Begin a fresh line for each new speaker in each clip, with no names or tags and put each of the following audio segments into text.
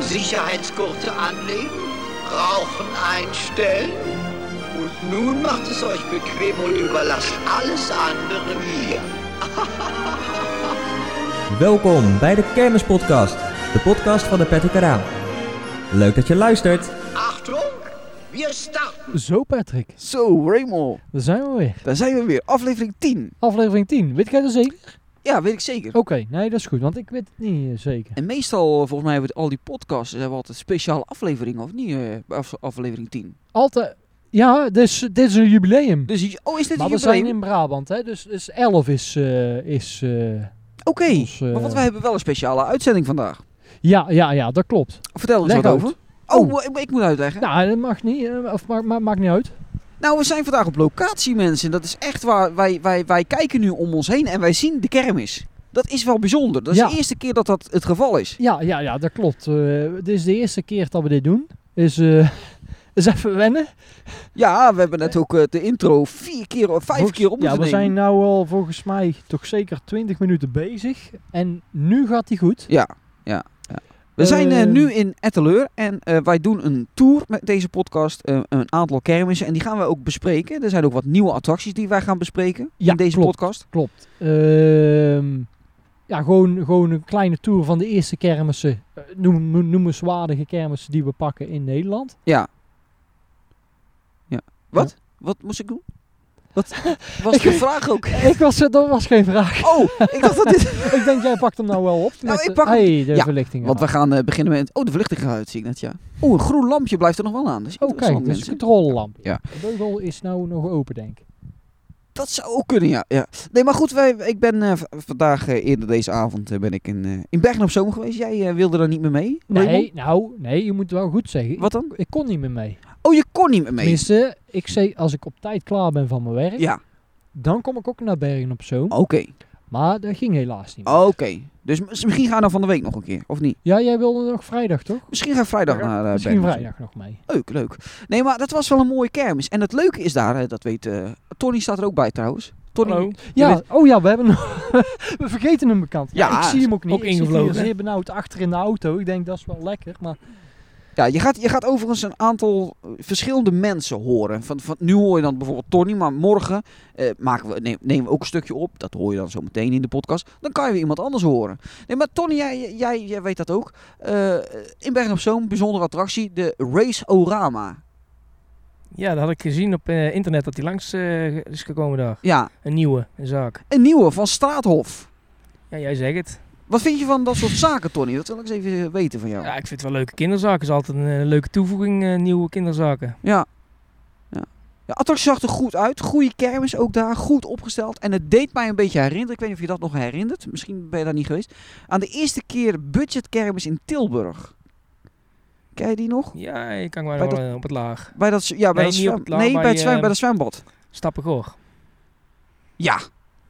Sicherheitsgurte anlegen, Rauchen einstellen. Und nun macht es euch bequem und überlasst alles andere mir.
Welkom bij de Kermispodcast, de podcast van de Patrick Karaan. Leuk dat je luistert.
Achtung! Wir starten!
Zo Patrick,
Zo, Raymond,
daar zijn we weer.
daar zijn we weer. Aflevering 10.
Aflevering 10, weet jij dat zeker?
Ja, weet ik zeker.
Oké, nee dat is goed, want ik weet het niet eh, zeker.
En meestal, eh, volgens mij, hebben we al die podcasts eh, hebben we altijd speciale afleveringen, of niet? eh, bij af- aflevering 10.
Altijd, ja, dus, dit is een jubileum.
Dus hier- oh, is dit
maar
een
we zijn
jubileum?
in Brabant, hè, dus, dus 11 is, eh, is eh,
Oké,
ons... eh,
maar want wij hebben wel een speciale uitzending vandaag.
Ja, ja, ja, dat klopt.
Vertel er eens
Leg
wat
uit.
over. Oh,
Oh.
eh, ik, ik moet uitleggen. Nou.
Nou, dat mag niet, eh, of ma ma- maakt niet uit.
we zijn vandaag op locatie, mensen. Dat is echt waar. Wij, wij, wij kijken nu om ons heen en wij zien de kermis. Dat is wel bijzonder. Dat is
Ja.
de eerste keer dat dat het geval is.
Ja, ja, ja, dat klopt. Eh, dit is de eerste keer dat we dit doen. Is, eh, is even wennen.
Ja, we hebben net ook eh, de intro vier keer, of vijf
Volgens-
keer op moeten
Ja, we
nemen.
zijn nou al volgens mij toch zeker 20 minuten bezig. En nu gaat die goed.
Ja, ja. ja. We zijn eh,
Ehm.
nu in Etteleur en eh, wij doen een tour met deze podcast. eh, een aantal kermissen en die gaan we ook bespreken. Er zijn ook wat nieuwe attracties die wij gaan bespreken
Ja,
in deze
klopt.
podcast.
Klopt. Ehm, ja, gewoon, gewoon een kleine tour van de eerste kermissen. eh, Noem, noem- noemenswaardige kermissen die we pakken in Nederland.
Ja. ja. Wat? Wat moest ik doen? Wat was de vraag ook?
Ik was, eh, dat was geen vraag.
Oh, ik dacht dat dit...
ik denk, jij pakt hem nou wel op.
Nou,
met
ik
de-
pak hem-
hey, de
ja,
verlichting.
Want we
aan.
gaan eh, beginnen met... Oh, de verlichting gaat uit, zie ik net, ja. Oh, een groen lampje blijft er nog wel aan. Dat is
Oh, kijk,
interessant,
dat is een
mensen.
controlelamp.
Ja.
De beugel is nou nog open, denk ik.
Dat zou ook kunnen, ja. ja. Nee, maar goed, wij, ik ben eh, v- vandaag, eh, eerder deze avond, eh, ben ik in, eh, in Bergen op Zoom geweest. Jij eh, wilde daar niet meer mee? Raymond?
Nee, nou, nee, je moet wel goed zeggen.
Wat dan?
Ik kon niet meer mee.
Oh, je kon niet meer mee.
Tenminste, ik zei, als ik op tijd klaar ben van mijn werk,
Ja, Oh.
dan kom ik ook naar Bergen op Zoom.
oké.
Maar dat ging helaas niet. meer.
Oké. Dus mis- misschien gaan we van de week nog een keer, of niet?
Ja, jij wilde nog vrijdag, toch?
Misschien ga ik vrijdag
Ja,
naar eh,
Misschien
Bergen op
vrijdag nog mee.
Zoom. Leuk, leuk. Nee, maar dat was wel een mooie kermis. En het leuke is daar, eh, dat weet... eh Tony staat er ook bij trouwens. Tony,
Ja,
weet-
oh ja, we hebben nog- we vergeten hem bekant. Ja,
Ja,
ik zie hem ook niet.
ook
ik zit hier
ingevlogen, hè?
zeer benauwd achter in de auto. Ik denk dat is wel lekker, maar
Ja, je gaat, je gaat overigens een aantal eh, verschillende mensen horen. Van, van, nu hoor je dan bijvoorbeeld Tony, maar morgen eh, maken we, neem- nemen we ook een stukje op. Dat hoor je dan zo meteen in de podcast. Dan kan je weer iemand anders horen. Nee, maar Tony, jij, jij, jij weet dat ook. Eh, in Bergen op Zoom, bijzondere attractie, de Race-orama.
Ja, dat had ik gezien op eh, internet dat hij langs eh, is gekomen daar.
Ja,
Een nieuwe, een zaak.
een nieuwe van Straathof.
Ja, jij zegt het.
Wat vind je van dat soort zaken, Tony? Dat wil ik eens even weten van jou.
Ja, ik vind het wel leuke kinderzaken. is altijd een eh, leuke toevoeging, eh, nieuwe kinderzaken.
Ja. ja. De attractie zag er goed uit. Goede kermis ook daar. Goed opgesteld. En het deed mij een beetje herinneren. Ik weet niet of je dat nog herinnert. Misschien ben je daar niet geweest. Aan de eerste keer budgetkermis in Tilburg. Ken je die nog?
Ja, je kan maar
Bij
wel eh, op het laag.
Bij dat, z- ja, bij
Nee,
dat
niet
zwem-
op het laag,
nee, bij,
bij,
het zwem,
eh,
bij dat zwembad.
Stappen goor.
Ja.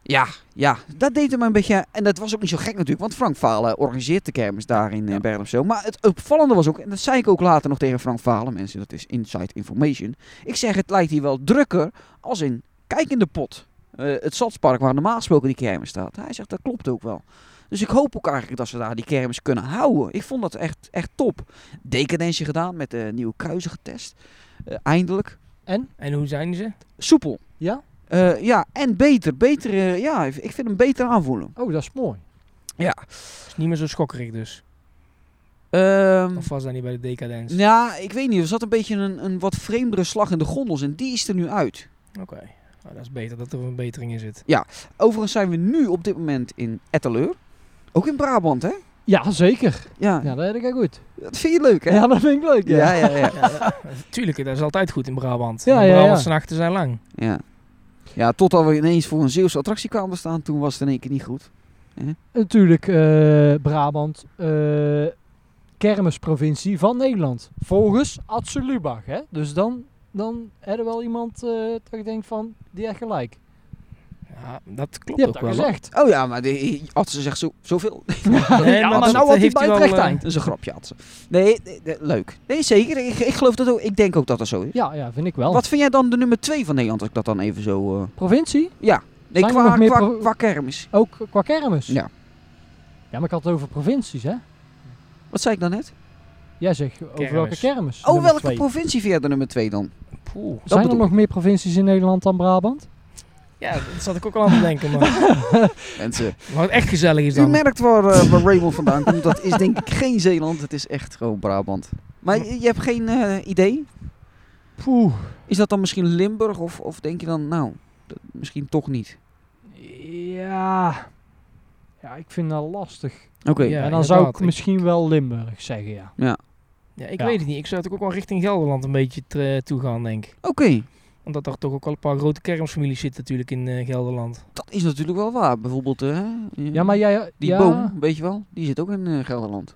Ja, ja, dat deed hem een beetje. En dat was ook niet zo gek natuurlijk, want Frank Valen organiseert de kermis daar in eh, Bergen op Zoom. Maar het opvallende was ook, en dat zei ik ook later nog tegen Frank Valen, mensen, dat is inside information. Ik zeg, het lijkt hier wel drukker als in Kijk in de Pot. eh, het stadspark waar normaal gesproken die kermis staat. Hij zegt, dat klopt ook wel. Dus ik hoop ook eigenlijk dat ze daar die kermis kunnen houden. Ik vond dat echt, echt top. Decadensje gedaan met de nieuwe kruisen getest. Eh, eindelijk.
En hoe zijn ze?
Soepel.
ja.
Eh, ja, en beter. beter eh, ja, ik vind hem beter aanvoelen.
Oh, dat is mooi.
Is niet meer zo schokkerig dus.
Ehm
Of was dat niet bij de decadence?
ja, ik weet niet. Er zat een beetje een, een wat vreemdere slag in de gondels en die is er nu uit.
Oké. Nou, dat is beter dat er een verbetering in zit.
Overigens zijn we nu op dit moment in Etteleur. Ook in Brabant, hè?
Ja, zeker.
Ja.
Ja, dat heb ik goed.
Dat vind je leuk, hè?
Ja, dat vind ik leuk. Ja.
ja, ja. ja.
Tuurlijk, dat is altijd goed in Brabant.
Ja,
Ja,
ja, ja.
Brabantse nachten zijn lang.
ja. Ja, totdat we ineens voor een Zeeuwse attractie kwamen te staan, toen was het in één keer niet goed. Mhm.
Natuurlijk eh, Brabant, eh, kermisprovincie van Nederland. Volgens Atse Lubach. Hè? Dus dan, dan had er wel iemand eh, dat je denkt van, die heeft gelijk.
Ja, dat klopt
Die hebt
ook
dat
wel.
gezegd.
Oh ja, maar de, Atze zegt zo, zoveel.
hoor. Nee,
Ja,
dat-
maar
dat
nou had hij
heeft
bij
hij
het
wel,
recht
eh,
eind.
Dat is een grapje, Atze. Nee, nee, nee, leuk. Nee, zeker. Ik, ik geloof dat ook. Ik denk ook dat dat zo is.
Ja, ja, vind ik wel.
Wat vind jij dan de nummer 2 van Nederland, als ik dat dan even zo... eh,
Provincie?
Nee,
Zijn er
qua,
nog meer
qua,
pro-
qua kermis.
Ook qua kermis?
Ja.
Ja, maar ik had het over provincies, hè?
Wat zei ik dan net?
Jij zegt over
Kermis.
welke kermis?
Oh,
Nummer
welke
twee.
provincie vind jij de nummer 2 dan?
Poeh.
Dat
Zijn er
bedoel
nog meer provincies in Nederland dan Brabant?
Ja, dat zat ik ook al aan te denken. Maar
Mensen,
wat echt gezellig is
u
dan.
merkt waar, eh, waar Raymond vandaan komt. Dat is denk ik geen Zeeland, het is echt gewoon Brabant. Maar je, je hebt geen eh, idee?
Poeh.
Is dat dan misschien Limburg of, of denk je dan, nou, dat misschien toch niet?
Ja. Ja, ik vind dat lastig.
Oké,
Ja,
en dan zou ik
inderdaad.
misschien wel Limburg zeggen, ja.
Ja, ik
Ja.
weet het niet. Ik zou toch ook wel richting Gelderland een beetje tre- toe gaan, denk ik.
oké.
Omdat daar toch ook wel een paar grote kermisfamilies zitten natuurlijk in eh, Gelderland.
Dat is natuurlijk wel waar. Bijvoorbeeld eh, eh,
Ja, maar jij...
die
ja,
boom, weet je wel, die zit ook in eh, Gelderland.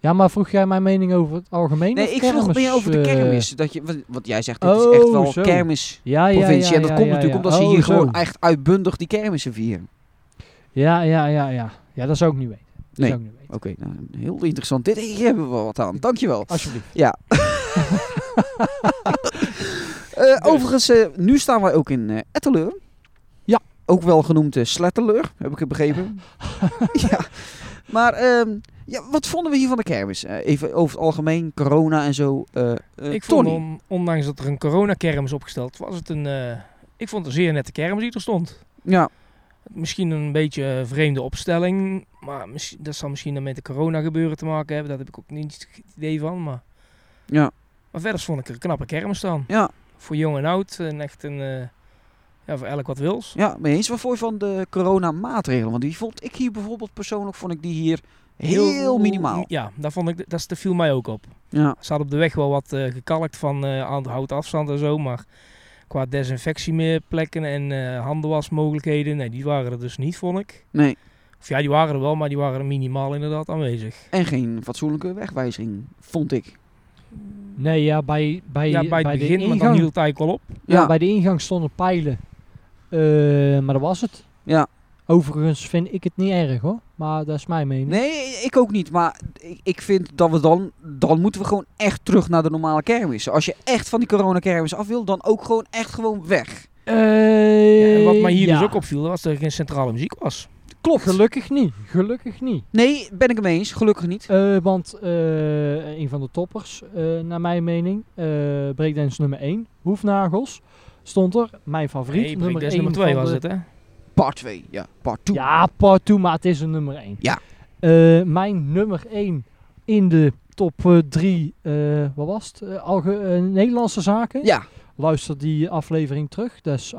Ja, maar vroeg jij mijn mening over het algemeen
Nee,
of
ik vroeg
kermis,
meer over de
eh,
kermis. Dat je, want- want jij zegt, dit is echt
Oh,
wel
zo.
kermisprovincie.
ja, ja, ja,
en dat
ja,
komt
ja,
natuurlijk
ja.
omdat ze
Oh, zo.
hier gewoon echt uitbundig die kermissen vieren.
Ja, ja, ja, ja. Ja, dat zou ik niet weten. Dat
Nee.
zou ik niet weten.
Oké, nou, heel interessant. Dit hier hebben we wel wat aan. Dankjewel.
Alsjeblieft.
Ja. Eh, Overigens, eh, nu staan wij ook in eh Etteleur.
Ja.
Ook wel genoemd eh, Sletteleur, heb ik het begrepen. ja. Maar ehm, ja, wat vonden we hier van de kermis? Eh, even over het algemeen, corona en zo. eh, eh,
ik vond,
Tony,
on- ondanks dat er een coronakermis opgesteld was, het een, eh, ik vond het een zeer nette kermis die er stond.
ja,
Misschien een beetje eh, vreemde opstelling, maar misschien, dat zal misschien dan met de corona gebeuren te maken hebben. Daar heb ik ook niet het idee van. Maar,
ja,
maar verder vond ik er een knappe kermis dan.
ja,
Voor jong en oud en echt een, eh, ja, voor elk wat wils.
ja, mee eens. Wat voor je van de coronamaatregelen? Want die vond ik hier bijvoorbeeld persoonlijk, vond ik die hier heel, minimaal.
Ja, dat, vond ik, dat viel mij ook op.
Ja,
Ze hadden op de weg wel wat eh, gekalkt van eh, aan hout afstand en zo, maar qua desinfectieplekken en eh, handenwasmogelijkheden, nee, die waren er dus niet, vond ik.
nee.
Of ja, die waren er wel, maar die waren er minimaal inderdaad aanwezig.
En geen fatsoenlijke wegwijzing, vond ik.
Nee, ja, bij, bij,
ja, bij het
de
begin, maar dan
ingang-
hield het eigenlijk wel op.
Ja,
Ja.
bij de ingang stonden pijlen. Eh, maar dat was het.
Ja.
Overigens vind ik het niet erg hoor. Maar dat is mijn mening.
Nee, ik ook niet. Maar ik, ik vind dat we dan... Dan moeten we gewoon echt terug naar de normale kermis. Als je echt van die coronakermis af wil, dan ook gewoon echt gewoon weg.
Eh,
Ja, en wat mij hier
ja.
dus ook opviel, was dat er geen centrale muziek was.
Klopt.
Gelukkig niet. Gelukkig niet.
nee, ben ik hem eens. Gelukkig niet.
Eh, want eh, een van de toppers, eh, naar mijn mening, eh breakdance nummer 1, Hoefnagels, stond er. Mijn favoriet,
Nee,
nummer
Breakdance
1
nummer 2
van
was
de-
het, hè?
Part 2. Ja, part 2.
Ja, part two, maar het is een nummer 1.
Ja.
mijn nummer 1 in de top 3, wat was het? Eh, alge- eh, Nederlandse zaken.
Ja.
Luister die aflevering terug. Dat is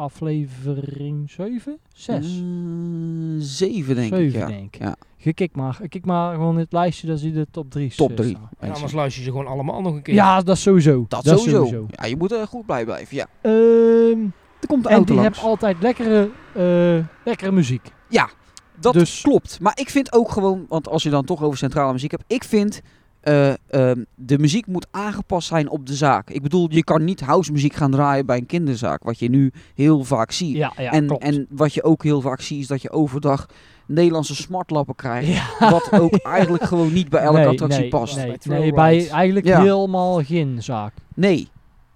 aflevering 7? 6?
Mm, zeven, denk ik.
7
Ja.
denk ik.
Ja.
Gekik maar. Kik maar gewoon in het lijstje, daar zie je de top 3.
Top 3.
En anders luister je ze gewoon allemaal nog een keer.
Ja, dat sowieso.
Dat, sowieso. Ja, je moet eh, goed blij blijven. Ja.
Ehm,
Er komt een
en
auto
die
langs.
hebben altijd lekkere, eh, lekkere muziek.
Dat
dus
klopt. Maar ik vind ook gewoon, want als je dan toch over centrale muziek hebt, ik vind eh, ehm, de muziek moet aangepast zijn op de zaak. Ik bedoel, je kan niet house muziek gaan draaien bij een kinderzaak, wat je nu heel vaak ziet.
Ja, ja
en,
klopt.
en wat je ook heel vaak ziet is dat je overdag Nederlandse smartlappen krijgt.
ja.
Wat ook eigenlijk gewoon niet bij elke
Nee,
attractie
nee,
past.
Nee,
Bij
nee,
Thrill
bij
Ride.
eigenlijk
Ja.
helemaal geen zaak.
Nee,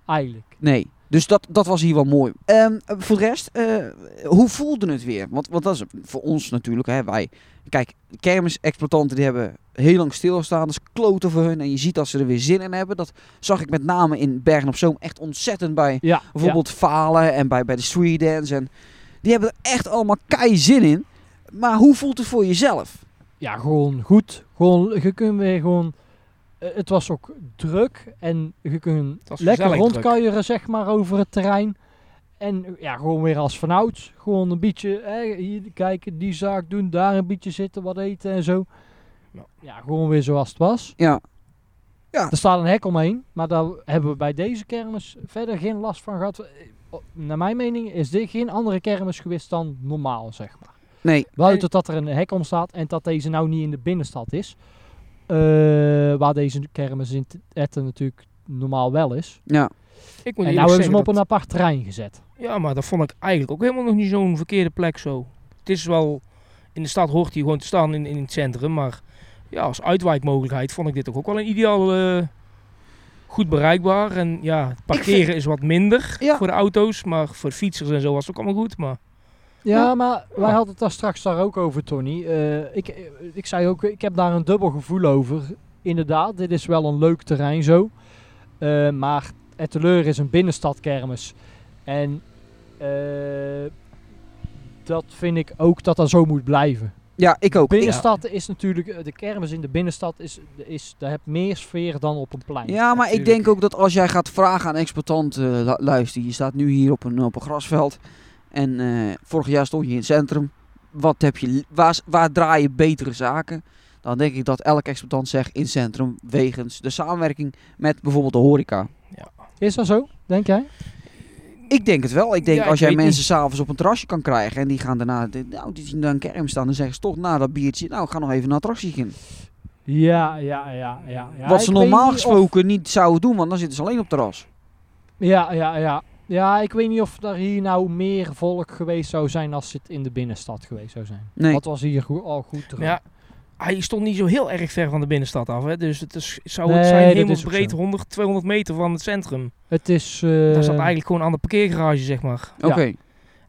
Eigenlijk.
nee. Dus dat, dat was hier wel mooi. Ehm, eh, voor de rest, eh, hoe voelde het weer? Want, want dat is voor ons natuurlijk, hè, wij... Kijk, kermisexploitanten die hebben heel lang stilgestaan. Dat is kloten voor hun. En je ziet dat ze er weer zin in hebben. Dat zag ik met name in Bergen op Zoom echt ontzettend bij
Ja,
Bijvoorbeeld Falen en bij, bij de street dance. En die hebben er echt allemaal kei zin in. Maar hoe voelt het voor jezelf?
ja. ja, gewoon goed. Gewoon, je kunt weer gewoon... eh, het was ook druk en je kunt
was
lekker
gezellig
rondkuieren, zeg maar, over het terrein. En eh, ja, gewoon weer als vanouds. Gewoon een beetje hè, hier kijken, die zaak doen, daar een beetje zitten, wat eten en zo.
Ja.
Ja, gewoon weer zoals het was.
Ja.
Er staat een hek omheen, maar daar hebben we bij deze kermis verder geen last van gehad. Eh, Naar mijn mening is dit geen andere kermis geweest dan normaal, zeg maar.
Nee.
Buiten dat er een hek om staat en dat deze nou niet in de binnenstad is. Eh, waar deze kermis in T- Etten natuurlijk normaal wel is.
Ja.
Ik moet
En
eerlijk
nou hebben ze
zeggen
hem op
dat-
een apart trein gezet.
Ja, maar dat vond ik eigenlijk ook helemaal nog niet zo'n verkeerde plek zo. Het is wel... In de stad hoort hij gewoon te staan in, in het centrum, maar... Ja, als uitwijkmogelijkheid vond ik dit toch ook wel een ideaal... eh, goed bereikbaar. En ja, het parkeren is wat minder
Ja.
voor de auto's, maar voor de fietsers en zo was het ook allemaal goed. Maar
Ja,
Ja.
maar wij hadden het daar straks daar ook over, Tony. Eh, ik, eh, ik zei ook, ik heb daar een dubbel gevoel over. Inderdaad, dit is wel een leuk terrein zo. Eh, maar Etteleur is een binnenstadkermis. En eh, dat vind ik ook dat dat zo moet blijven.
ja, ik ook. Ik-
Binnenstad is natuurlijk, eh, de kermis in de binnenstad is, is, daar heb meer sfeer dan op een plein.
Ja, maar ik denk ook dat als jij gaat vragen aan exploitanten, eh, lu- luister, je staat nu hier op een, op een grasveld en eh, vorig jaar stond je in het centrum, wat heb je, li- waar, s- waar draai je betere zaken? Dan denk ik dat elk exploitant zegt in het centrum, wegens de samenwerking met bijvoorbeeld de horeca.
Is dat zo, denk jij?
Ik denk het wel. Ik denk
Ja, ik
als jij
weet
mensen s'avonds op een terrasje kan krijgen en die gaan daarna, de- nou, die zien dan een kerm staan en zeggen ze toch na dat biertje, nou, ga nog even naar attractie gaan.
Ja, ja, ja. ja, ja.
wat ze
Ik weet niet
normaal
of-
gesproken niet zouden doen, want dan zitten ze alleen op het terras.
Ja, ja, ja. Ja, ik weet niet of er hier nou meer volk geweest zou zijn als het in de binnenstad geweest zou zijn.
Nee.
Dat was hier goed, al goed terug.
ja, hij stond niet zo heel erg ver van de binnenstad af. Hè? Dus het is, zou
Nee,
het
dat
zijn
is ook
hemelsbreed
zo.
100, 200 meter van het centrum.
Het is... eh,
Daar zat eigenlijk gewoon aan de parkeergarage, zeg maar.
Oké.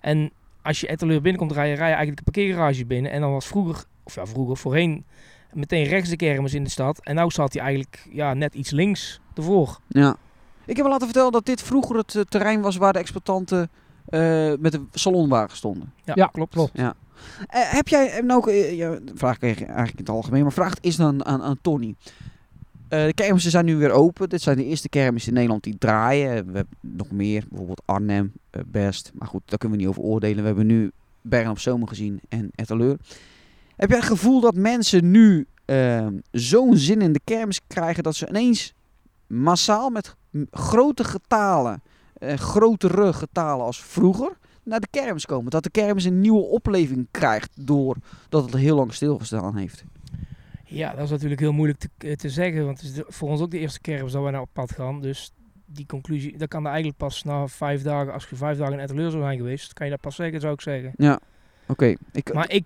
En als je Etteleur binnenkomt rijden, rij je eigenlijk de parkeergarage binnen. En dan was vroeger, of ja vroeger, voorheen meteen rechts de kermis in de stad. En nou zat hij eigenlijk ja, net iets links ervoor.
Ja. Ik heb me laten vertellen dat dit vroeger het eh, terrein was waar de exploitanten eh, met de salonwagen stonden.
Ja,
Ja,
klopt.
klopt.
Eh, heb jij hem nou ook, eh, ja, de vraag kreeg je eigenlijk in het algemeen, maar vraag is dan aan, aan Tony. Eh, de kermissen zijn nu weer open. Dit zijn de eerste kermissen in Nederland die draaien. Eh, We hebben nog meer, bijvoorbeeld Arnhem, eh, Best. Maar goed, daar kunnen we niet over oordelen. We hebben nu Bergen op Zomer gezien en Etteleur. Heb jij het gevoel dat mensen nu eh, zo'n zin in de kermis krijgen dat ze ineens massaal met m- grote getalen, eh, grotere getalen als vroeger, naar de kermis komen. Dat de kermis een nieuwe opleving krijgt doordat het heel lang stilgestaan heeft.
Ja, dat is natuurlijk heel moeilijk te, eh, te zeggen. Want het is de- voor ons ook de eerste kermis dat wij naar op pad gaan. Dus die conclusie, dat kan er eigenlijk pas na vijf dagen, als je vijf dagen in Etteleur zou zijn geweest, kan je dat pas zeggen, zou ik zeggen.
Ja, oké. Ik,
Maar ik,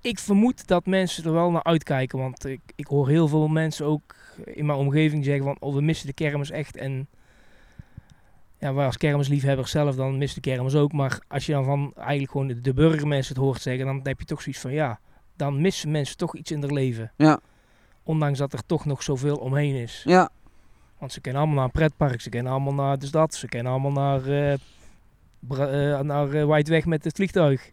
ik vermoed dat mensen er wel naar uitkijken. Want ik, ik hoor heel veel mensen ook in mijn omgeving zeggen van... Oh, we missen de kermis echt. En ja, wij als kermisliefhebbers zelf dan missen de kermis ook. Maar als je dan van eigenlijk gewoon de- de burgermensen het hoort zeggen... Dan heb je toch zoiets van ja, dan missen mensen toch iets in hun leven.
Ja.
Ondanks dat er toch nog zoveel omheen is.
ja,
Want ze kennen allemaal naar een pretpark. Ze kennen allemaal naar de stad. Ze kennen allemaal naar, eh Bra- eh, naar eh, Wijdweg met het vliegtuig.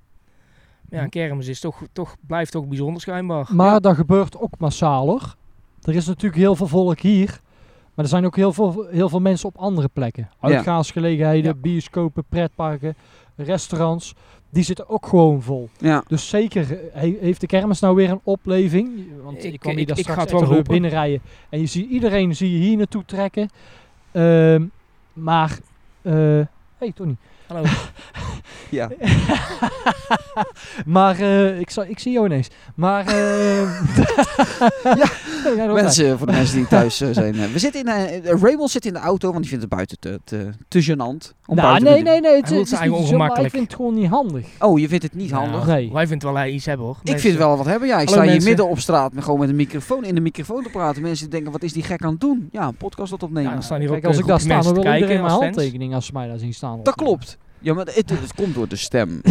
Maar ja, een kermis is toch, toch, blijft toch bijzonder schijnbaar.
Hm. Maar dat gebeurt ook massaler. Er is natuurlijk heel veel volk hier. Maar er zijn ook heel veel, heel veel mensen op andere plekken.
Ja.
Uitgaansgelegenheden,
Ja.
bioscopen, pretparken, restaurants. Die zitten ook gewoon vol.
ja.
Dus zeker eh, he- heeft de kermis nou weer een opleving. Want
Ik-
ik kwam hier
ik-
daar
ik ga
straks
het wel
echt wel
hopen.
binnenrijden. En je ziet iedereen zie je hier naartoe trekken. Ehm, maar, eh hey Tony.
Hallo.
Ja.
maar eh, ik, zou- ik zie jou ineens. Maar, eh, ja, ja, dat was
Mensen, voor de mensen die thuis eh, zijn. eh, we zitten in, eh, eh, Raymond zit in de auto, want die vindt het buiten te, te, te gênant. om
Nou,
buiten te
nee, nee,
doen.
nee. Het,
Hij voelt
het is
zich
niet
eigenlijk
zo, maar ik
ongemakkelijk.
vind het gewoon niet handig.
Oh, je vindt het niet handig?
Nou,
Nee.
Wij vinden wel hij iets hebben hoor.
Ik vind wel wat hebben. Ja, ik
Hallo,
sta hier
mensen.
midden op straat met, gewoon met een microfoon in de microfoon te praten. Mensen die denken, wat is die gek aan het doen? Ja, een podcast dat opnemen.
Ja, er staan hier
Kijk,
ook
als
eh,
ik daar
groepje
sta, dan
mensen
wil
te kijken
iedereen mijn
als fans.
handtekening als ze mij daar zien staan.
dat klopt. Ja, maar het, het komt door de stem.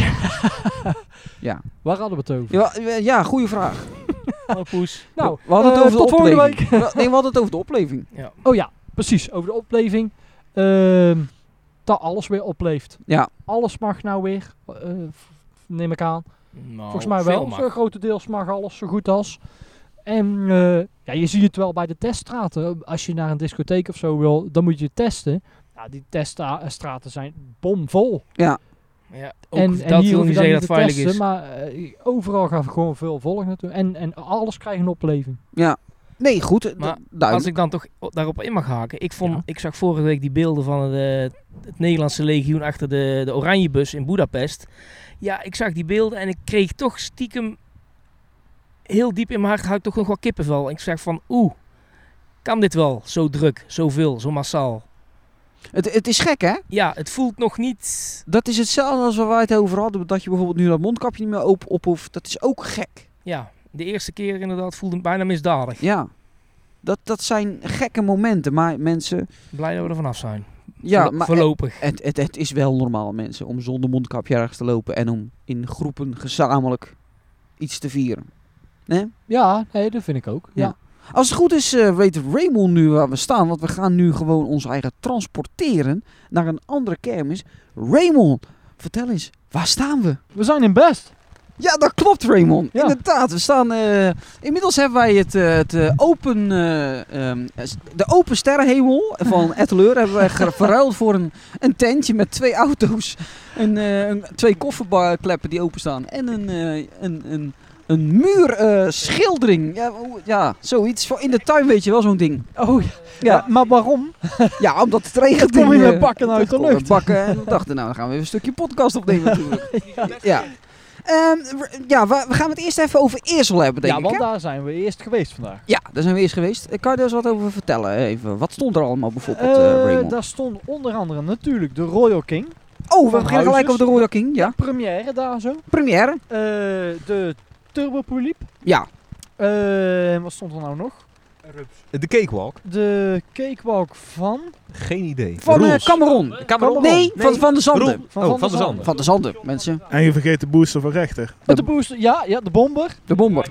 Waar hadden we het over?
Ja, eh, ja goede vraag.
Hallo, poes.
Nou,
we hadden het
eh,
over
tot
de
volgende
opleving. Nee, we hadden het over de opleving.
Oh ja, precies. Over de opleving. Ehm, dat alles weer opleeft.
Ja.
Alles mag nou weer. eh, f- neem ik aan.
Nou,
Volgens mij
veel
wel.
mag.
Zo grotendeels mag alles zo goed als. En eh, ja, je ziet het wel bij de teststraten. Als je naar een discotheek of zo wil, dan moet je testen. Nou, die teststraten zijn bomvol.
Ja, ook
En, en
dat
hier
wil
hoef je
niet
dan
zeggen
niet
dat
te
het veilig
testen,
is.
maar eh, overal gaat gewoon veel volk naartoe. En, en alles krijgt een opleving.
Ja. Nee, goed. eh,
Maar Als
duidelijk.
ik dan toch o- daarop in mag haken. Ik, vond,
Ja.
ik zag vorige eh, week die beelden van de, het Nederlandse legioen achter de, de Oranjebus in Budapest. ja, ik zag die beelden en ik kreeg toch stiekem heel diep in mijn hart had ik toch nog wel kippenvel. En ik zeg van, oeh, kan dit wel? Zo druk, zoveel, zo massaal.
Het, het is gek, hè?
Ja, het voelt nog niet
Dat is hetzelfde als waar wij het over hadden. Dat je bijvoorbeeld nu dat mondkapje niet meer open op hoeft. Dat is ook gek.
Ja, de eerste keer inderdaad voelde het bijna misdadig.
Ja. Dat, dat zijn gekke momenten. Maar mensen...
Blij dat we er vanaf zijn.
Ja,
Voorlo-
maar
Voorlopig.
het, het, het is wel normaal, mensen. Om zonder mondkapje ergens te lopen. En om in groepen gezamenlijk iets te vieren. Nee?
Ja, nee, dat vind ik ook. Ja.
Ja. Als het goed is, eh, weet Raymond nu waar we staan. Want we gaan nu gewoon ons eigen transporteren naar een andere kermis. Raymond, vertel eens, waar staan we?
We zijn in Best.
Ja, dat klopt, Raymond.
Ja.
Inderdaad, we staan. eh, inmiddels hebben wij het, eh, het eh, open, eh, ehm, s- de open sterrenhemel van Etteleur hebben wij ge- verruild voor een, een tentje met twee auto's, een, eh, een- twee kofferkleppen die openstaan en een, eh, een, een, een muurschildering. ja, hoe- ja, zoiets. Voor In de tuin weet je wel zo'n ding.
Oh ja.
Ja,
Maar waarom?
ja omdat het regent.
kom je
hier,
met
eh,
bakken uit de
terugkomen.
lucht.
Bakken en we dachten, nou, dan gaan we even een stukje podcast opnemen natuurlijk. ja. Ehm, r- ja, we, we gaan het eerst even over Eersel hebben, denk
Ja,
ik.
want
hè?
daar zijn we eerst geweest vandaag.
Ja, daar zijn we eerst geweest. Eh, Kan je daar eens wat over vertellen? Even, wat stond er allemaal bijvoorbeeld, eh,
Eh,
Raymond?
daar stond onder andere natuurlijk de Royal King.
oh, we
van
beginnen gelijk
Huizes.
op de Royal King. Ja,
Première daar zo.
première.
Eh, de Turbo Polyp.
Ja,
Eh, wat stond er nou nog?
De cakewalk?
De Cakewalk van...
Geen idee.
van eh,
Roels.
Cameron.
Cameron.
Nee, van Van
Roel-
de Zanden.
Oh,
Van
van,
Van der
de Zanden.
Van de Zanden, mensen.
En je vergeet de booster van rechter.
Met de booster, ja, ja, de bomber.
De bomber.
De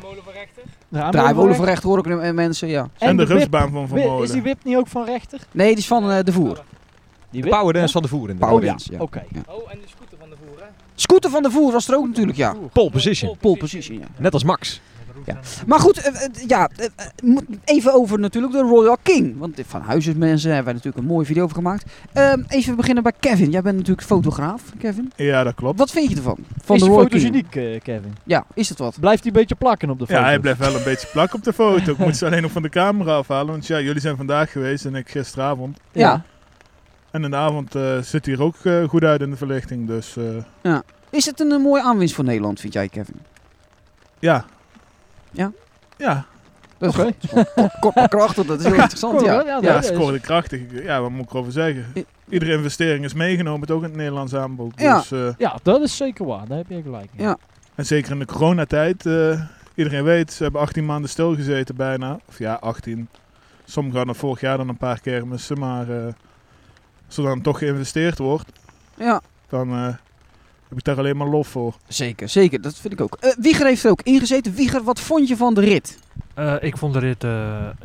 aanvoerder
Draaiwolen
van
van recht hoor ik nu, eh, mensen, ja.
rechter.
En, de,
whip.
rustbaan van Van
Wi- Is die
Molen.
whip niet ook van rechter?
Nee, die is van eh, de voer.
Die
De powerdance van de voer in de
Power
Oh ja,
dance, ja.
oké.
Oh, en de scooter van de voer, hè?
Scooter van de voer was er ook natuurlijk, ja.
Oh.
Pole position.
Pole position, ja.
Net als Max.
Maar goed, eh, eh, ja, eh, eh, moet- even over natuurlijk de Royal King. Want eh, van huizen mensen hebben wij natuurlijk een mooie video over gemaakt. Ehm, even beginnen bij Kevin. Jij bent natuurlijk fotograaf, Kevin.
Ja, dat klopt.
Wat vind je ervan? Van
is
de
die
Royal
foto's
King?
uniek, eh, Kevin?
Ja, is het wat?
Blijft die een beetje plakken op de foto?
Ja, hij blijft wel een beetje plak op de foto. Ik moet ze alleen nog van de camera afhalen. Want ja, jullie zijn vandaag geweest en ik gisteravond.
Ja.
En in de avond eh, zit hier ook eh, goed uit in de verlichting. Dus eh,
Is het een, eh, mooie aanwinst voor Nederland, vind jij, Kevin?
ja.
Ja?
Ja,
Dat is
Oké.
kort, kort maar krachtig, dat is heel interessant,
cool,
ja.
hè? Ja,
ja,
dat is-
scoorde krachtig. Ik- Ja, wat moet ik erover zeggen?
I-
Iedere investering is meegenomen, het ook in het Nederlands aanbod.
Ja.
Dus, eh,
Ja, dat is zeker waar. Daar heb je gelijk in.
Ja.
en zeker in de coronatijd. eh, iedereen weet, ze hebben 18 maanden stilgezeten bijna. Of ja, 18. Sommigen hadden vorig jaar dan een paar kermissen. Maar eh, als er dan toch geïnvesteerd wordt,
Ja,
dan eh, heb ik daar alleen maar lof voor.
zeker, zeker. Dat vind ik ook. Eh, Wieger heeft er ook ingezeten. Wieger, wat vond je van de rit?
Eh, ik vond de rit, eh, eh,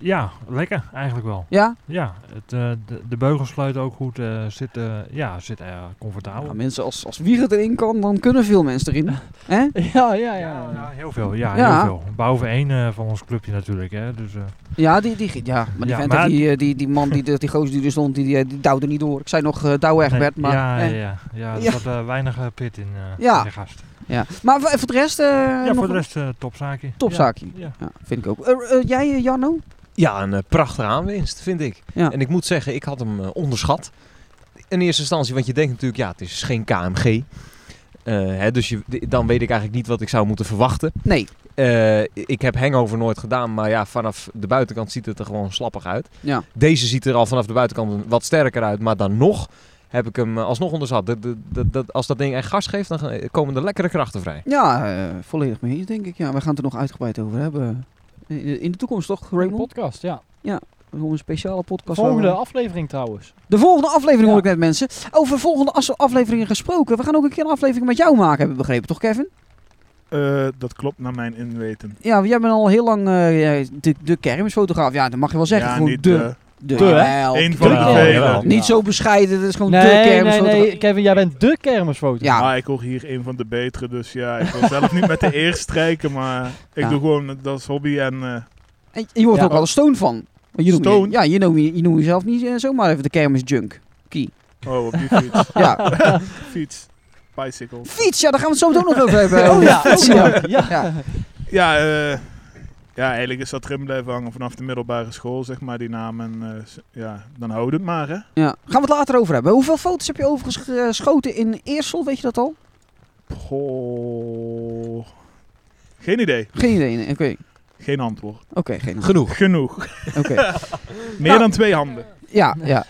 ja, lekker eigenlijk wel.
Ja?
Ja, het, eh, de, de beugels sluiten ook goed. eh zit, eh, ja, zit eh, comfortabel.
Nou, mensen, als, als Wieger erin kan, dan kunnen veel mensen erin. Hè?
Ja, ja, ja.
ja, ja, heel veel. Ja,
Ja.
heel veel. Boven één eh, van ons clubje natuurlijk. Hè, dus, eh,
Ja, die, die, ja, maar die,
Ja,
vent,
maar-
Die, eh, die, die man, die, die, die gozer die er stond, die, die, die duwde niet door. Ik zei nog eh douwe
nee,
Egbert, maar...
ja,
eh,
ja, ja, ja, er
Ja.
zat eh, weinig eh, pit in, eh
Ja.
in de gast.
ja. Maar voor, voor de rest... eh,
Ja,
nog
voor de
een
rest eh topzaakje.
Topzaakje.
Ja.
Ja, vind ik ook. Eh, eh, jij, eh, Jarno?
Ja, een eh, prachtige aanwinst, vind ik.
Ja.
En ik moet zeggen, ik had hem eh, onderschat. In eerste instantie, want je denkt natuurlijk, ja, het is geen KMG. Eh, hè, dus je, d- dan weet ik eigenlijk niet wat ik zou moeten verwachten.
Nee.
Eh, ik heb hangover nooit gedaan, maar ja, vanaf de buitenkant ziet het er gewoon slappig uit.
Ja.
Deze ziet er al vanaf de buitenkant een- wat sterker uit, maar dan nog heb ik hem eh, alsnog onderschat. Dat, dat, dat, dat- als dat ding echt gas geeft, dan gaan- komen er lekkere krachten vrij.
Ja, eh, volledig mee eens, denk ik. Ja, we gaan het er nog uitgebreid over hebben. In de- in de toekomst toch,
Een
Raymond?
podcast, ja.
Gewoon een speciale podcast. waar we-
Volgende aflevering trouwens.
De volgende aflevering hoor ik
Ja.
net, mensen. Over volgende as- afleveringen gesproken. We gaan ook een keer een aflevering met jou maken, heb ik begrepen. Toch, Kevin?
Eh, dat klopt naar mijn inweten.
Ja, want jij bent al heel lang eh, eh, de, de kermisfotograaf. Ja, dat mag je wel zeggen.
ja,
Gewoon
niet
de,
eh,
de,
de, hè?
wel,
één van de
de-
vele.
jawel.
Niet zo bescheiden, dat is gewoon de
Nee, nee,
kermisfotograaf.
nee, Kevin, jij bent de kermisfoto.
Ja,
eh, Maar ik hoor hier een van de betere, dus ja, ik wil zelf niet met de eer strijken, maar ik
Ja.
doe gewoon het als hobby en eh,
en je wordt
Ja.
ook wel een stoon van. Want Je noemt,
Stoon?
ja, je noemt, je, je noemt jezelf niet eh, zomaar even de kermisjunk.
oh, op die fiets,
Ja,
fiets, bicycle.
fiets, ja, daar gaan we het zo meteen ook nog over hebben.
Oh ja,
Fiets,
ook nog, ja.
Ja, eh, ja, eigenlijk is dat erin blijven hangen vanaf de middelbare school, zeg maar, die naam. En eh, s- ja, dan houd het maar, hè.
Ja, gaan we het later over hebben. Hoeveel foto's heb je overigens geschoten in Eersel, weet je dat al?
Goh. Geen idee.
Geen idee. nee. Oké,
Geen antwoord.
oké, geen idee.
Genoeg.
Genoeg.
Oké.
Meer dan twee handen.
Ja, ja.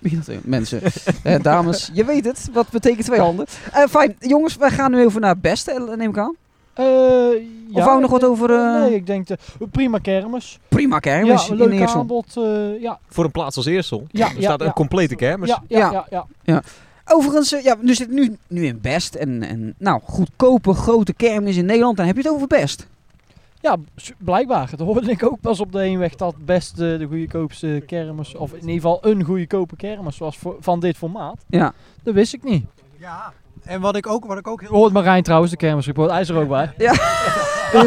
Mensen, eh, dames, je weet het. Wat betekent twee handen? Eh, fijn, jongens, wij gaan nu over naar het beste, eh, neem ik aan.
Eh, ja,
wou je nog wat
ik denk-
over, eh,
Nee, ik denk... De, prima kermis.
Prima kermis
ja,
in
leuk
Eersel.
aanbod. eh, ja,
Voor een plaats als Eersel.
ja,
Er
ja,
staat
ja,
een complete kermis.
ja, ja, ja, ja.
Overigens, eh, ja, nu zit nu, nu in Best. En, en nou, goedkope grote kermis in Nederland. Dan heb je het over Best.
Ja, s- blijkbaar. Dat hoorde ik ook pas op de heenweg dat best de, de goedkoopste kermis, of in ieder geval een goedkope kermis was voor, van dit formaat.
Ja.
Dat wist ik niet.
Ja, en wat ik ook, wat ik ook heel...
Hoort Marijn trouwens, de kermisreport, hij is er ook bij.
Ja.
Eh,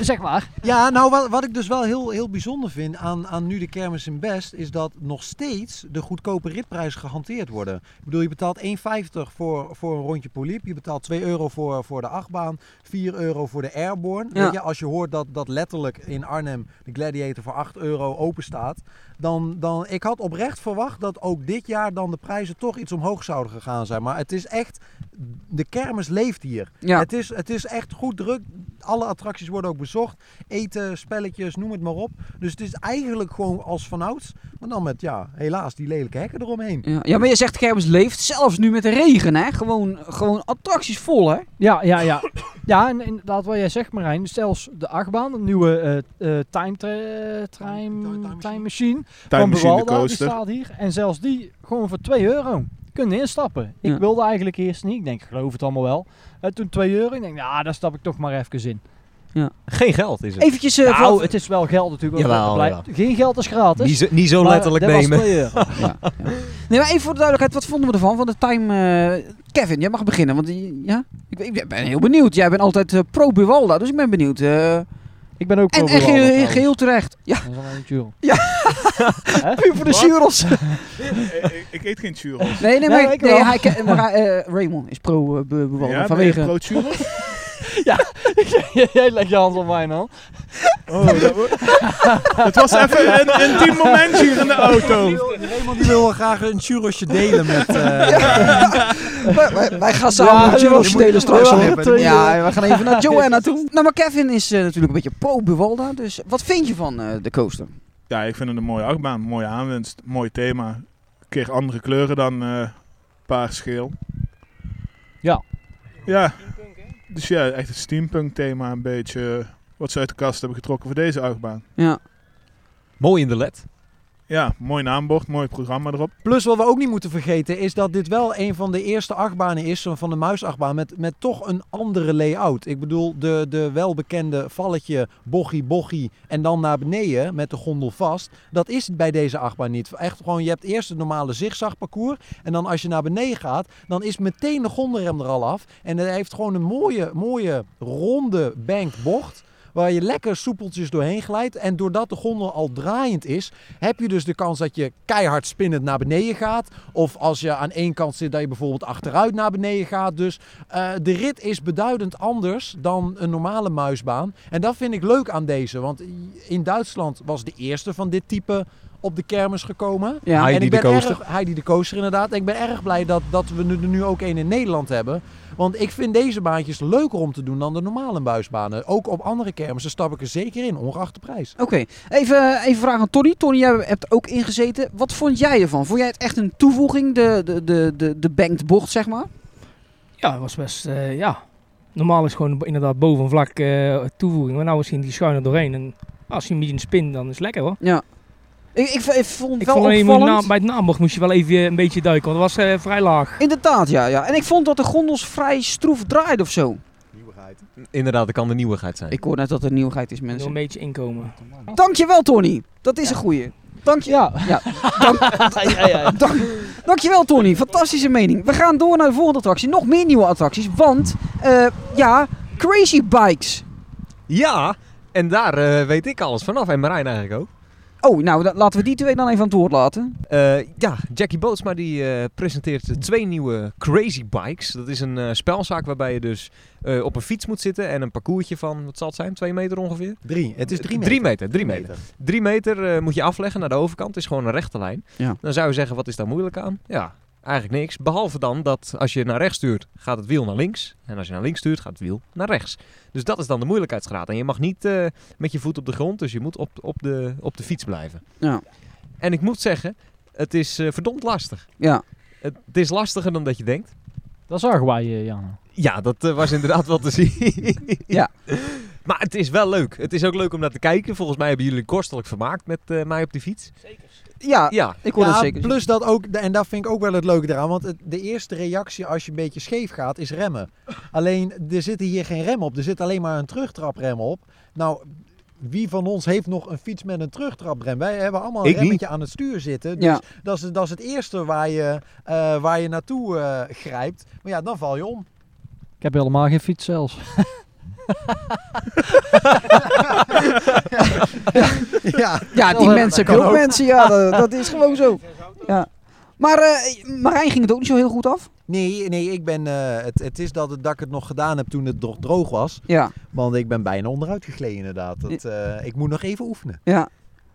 zeg maar.
Ja, nou wat, wat ik dus wel heel, heel bijzonder vind aan, aan nu de kermis in Best, is dat nog steeds de goedkope ritprijzen gehanteerd worden. Ik bedoel, je betaalt 1,50 voor, voor een rondje poliep, je betaalt 2 euro voor, voor de achtbaan, 4 euro voor de airborne.
Ja.
Weet je, als je hoort dat, dat letterlijk in Arnhem de Gladiator voor 8 euro open staat, dan, dan ik had oprecht verwacht dat ook dit jaar dan de prijzen toch iets omhoog zouden gegaan zijn. Maar het is echt, de kermis leeft hier.
Ja,
Het, is, het is echt goed druk. Alle attracties worden ook bezocht. Eten, spelletjes, noem het maar op. Dus het is eigenlijk gewoon als vanouds. Maar dan met, ja, helaas die lelijke hekken eromheen.
ja. ja maar je zegt kermis leeft. Zelfs nu met de regen, hè. Gewoon, gewoon attracties vol, hè.
Ja, ja, ja. Ja, en inderdaad wat jij zegt Marijn, zelfs de achtbaan, de nieuwe eh, eh, time, tra-
Time-
time,
time
time machine
Time
van
Machine
Bewalda, die
Coaster.
staat hier. En zelfs die gewoon voor 2 euro kunnen instappen. Ik
Ja.
wilde eigenlijk eerst niet. Ik denk, ik geloof het allemaal wel. En toen 2 euro. Ik denk, nou, daar stap ik toch maar even in.
Geen geld is het.
Eventjes... eh,
nou,
voor-
het is wel geld natuurlijk. want
Jawel,
het blijft- Geen geld is gratis.
Niet zo, niet zo
dus- maar
letterlijk
dat was
nemen.
2 euro.
ja, ja. Nee, maar even voor de duidelijkheid. Wat vonden we ervan? Van de time... eh, Kevin, jij mag beginnen. Want die- ja, ik, ben- ik ben heel benieuwd. Jij bent altijd eh, pro Buwalda. Dus ik ben benieuwd. eh, en
Ik ben ook
en
voor Bewalda
geheel-
trouwens.
geheel terecht. Ja,
Dat is allemaal niet joh.
puur voor de Churros.
Eh, ik- Ik eet geen churros.
Nee,
Nee,
nee, maar,
ik
nee,
wel.
hij, ke- maar hij, eh, Raymond is pro eh, be- Buwalda.
Ja, ben je
vanwege...
pro churros?
Jij legt je hand op mij dan.
Oh, dat, het was even een een intiem moment hier in de auto.
Raymond die wil wel graag een churrosje delen met... eh,
Wij, wij- wij gaan samen
Ja,
een churros
je
moet-
delen straks.
je moet-
hoor.
je moet-
Ja, we gaan even naar Joanna toe. Nou, maar Kevin is eh, natuurlijk een beetje pro Buwalda. Dus wat vind je van eh, de coaster?
Ja, ik vind het een mooie achtbaan. Mooie aanwinst. Mooi thema. Een keer andere kleuren dan eh paars-geel.
Ja.
Ja. Dus ja, echt het steampunk thema een beetje. eh, Wat ze uit de kast hebben getrokken voor deze achtbaan.
Ja.
Mooi in de led.
Ja, mooi naambord, mooi programma erop.
Plus Dus wat we ook niet moeten vergeten is dat dit wel een van de eerste achtbanen is, zo van de muisachtbaan, met, met toch een andere layout. Ik bedoel, de, de welbekende valletje, bochie, bochie en dan naar beneden met de gondel vast. Dat is bij deze achtbaan niet. Echt gewoon, je hebt eerst het normale zigzagparcours en dan als je naar beneden gaat, dan is meteen de gondelrem er al af. En het heeft gewoon een mooie, mooie ronde bankbocht. Waar je lekker soepeltjes doorheen glijdt. En doordat de gondel al draaiend is, heb je dus de kans dat je keihard spinnend naar beneden gaat. Of als je aan één kant zit, dat je bijvoorbeeld achteruit naar beneden gaat. Dus eh, de rit is beduidend anders dan een normale muisbaan. En dat vind ik leuk aan deze. Want in Duitsland was de eerste van dit type op de kermis gekomen.
Ja.
Heidi
en ik
de
ben
Coaster.
Erg, Heidi de Coaster inderdaad. En ik ben erg blij dat, dat we nu- er nu ook één in Nederland hebben. Want ik vind deze baantjes leuker om te doen dan de normale muisbanen. Ook op andere kermissen stap ik er zeker in, ongeacht de prijs.
Oké, even, eh, even vragen aan Tony. Tony, jij hebt ook ingezeten. Wat vond jij ervan? Vond jij het echt een toevoeging, de, de, de, de, de banked bocht, zeg maar?
Ja, dat was best, eh, ja. Normaal is gewoon inderdaad boven vlak eh, toevoeging. Maar nou misschien die schuine doorheen. En als je hem niet in spin, dan is het lekker hoor.
Ja. Ik, ik, ik vond het
Ik
wel
vond alleen je moet
opvallend.
na- bij het naambocht moest je wel even eh, een beetje duiken. Want dat was eh, vrij laag.
Inderdaad, ja, ja. En ik vond dat de gondels vrij stroef draaiden of zo.
Inderdaad, dat kan de nieuwigheid zijn.
Ik hoor net dat er nieuwigheid is,
Er een
mensen.
beetje inkomen.
Dankjewel, Tony. Dat is een goeie. Dank je.
Ja.
Ja.
ja, ja.
Dank, dankjewel Tony, fantastische mening. We gaan door naar de volgende attractie. Nog meer nieuwe attracties, want eh, ja, Crazy Bikes.
Ja, en daar eh, weet ik alles vanaf. En Marijn eigenlijk ook.
Oh, nou da- laten we die twee dan even aan het woord laten.
Eh, ja, Jackie Bootsma die eh, presenteert twee nieuwe Crazy Bikes. Dat is een eh, spelzaak waarbij je dus eh, op een fiets moet zitten en een parcoursje van, wat zal het zijn, twee meter ongeveer?
Drie. Het is drie meter.
Drie meter, drie meter. Drie meter eh, moet je afleggen naar de overkant. Het is gewoon een rechte lijn.
Ja.
Dan zou je zeggen, wat is daar moeilijk aan? Ja, Eigenlijk niks. Behalve dan dat als je naar rechts stuurt, gaat het wiel naar links. En als je naar links stuurt, gaat het wiel naar rechts. Dus dat is dan de moeilijkheidsgraad. En je mag niet eh, met je voet op de grond, dus je moet op, op, de, op de fiets blijven.
Ja.
En ik moet zeggen, het is eh, verdomd lastig.
Ja.
Het, het is lastiger dan dat je denkt.
Dat zagen wij, eh, Jan.
Ja, dat eh, was inderdaad wel te zien.
Ja.
Maar het is wel leuk. Het is ook leuk om naar te kijken. Volgens mij hebben jullie kostelijk vermaakt met eh, mij op de fiets.
Ja,
Ja.
ik hoor
Ja,
dat zeker.
plus dat ook, en daar vind ik ook wel het leuke eraan, want het- de eerste reactie als je een beetje scheef gaat is remmen. Alleen, er zitten hier geen rem op, er zit alleen maar een terugtraprem op. Nou, wie van ons heeft nog een fiets met een terugtraprem? Wij hebben allemaal een
Ik niet.
remmetje aan het stuur zitten, dus
Ja.
dat, is, dat is het eerste waar je, eh, waar je naartoe eh, grijpt. Maar ja, dan val je om.
Ik heb helemaal geen fiets zelfs.
ja,
Ja, die
Dat
mensen hebben ook mensen. Ja, dat, dat is gewoon zo. Ja. Maar eh, Marijn ging het ook niet zo heel goed af.
nee, nee ik ben, eh, het, het is dat, het- dat ik het nog gedaan heb toen het nog droog was.
Ja,
Want ik ben bijna onderuit gegleden inderdaad. Dat, eh, ik moet nog even oefenen.
ja.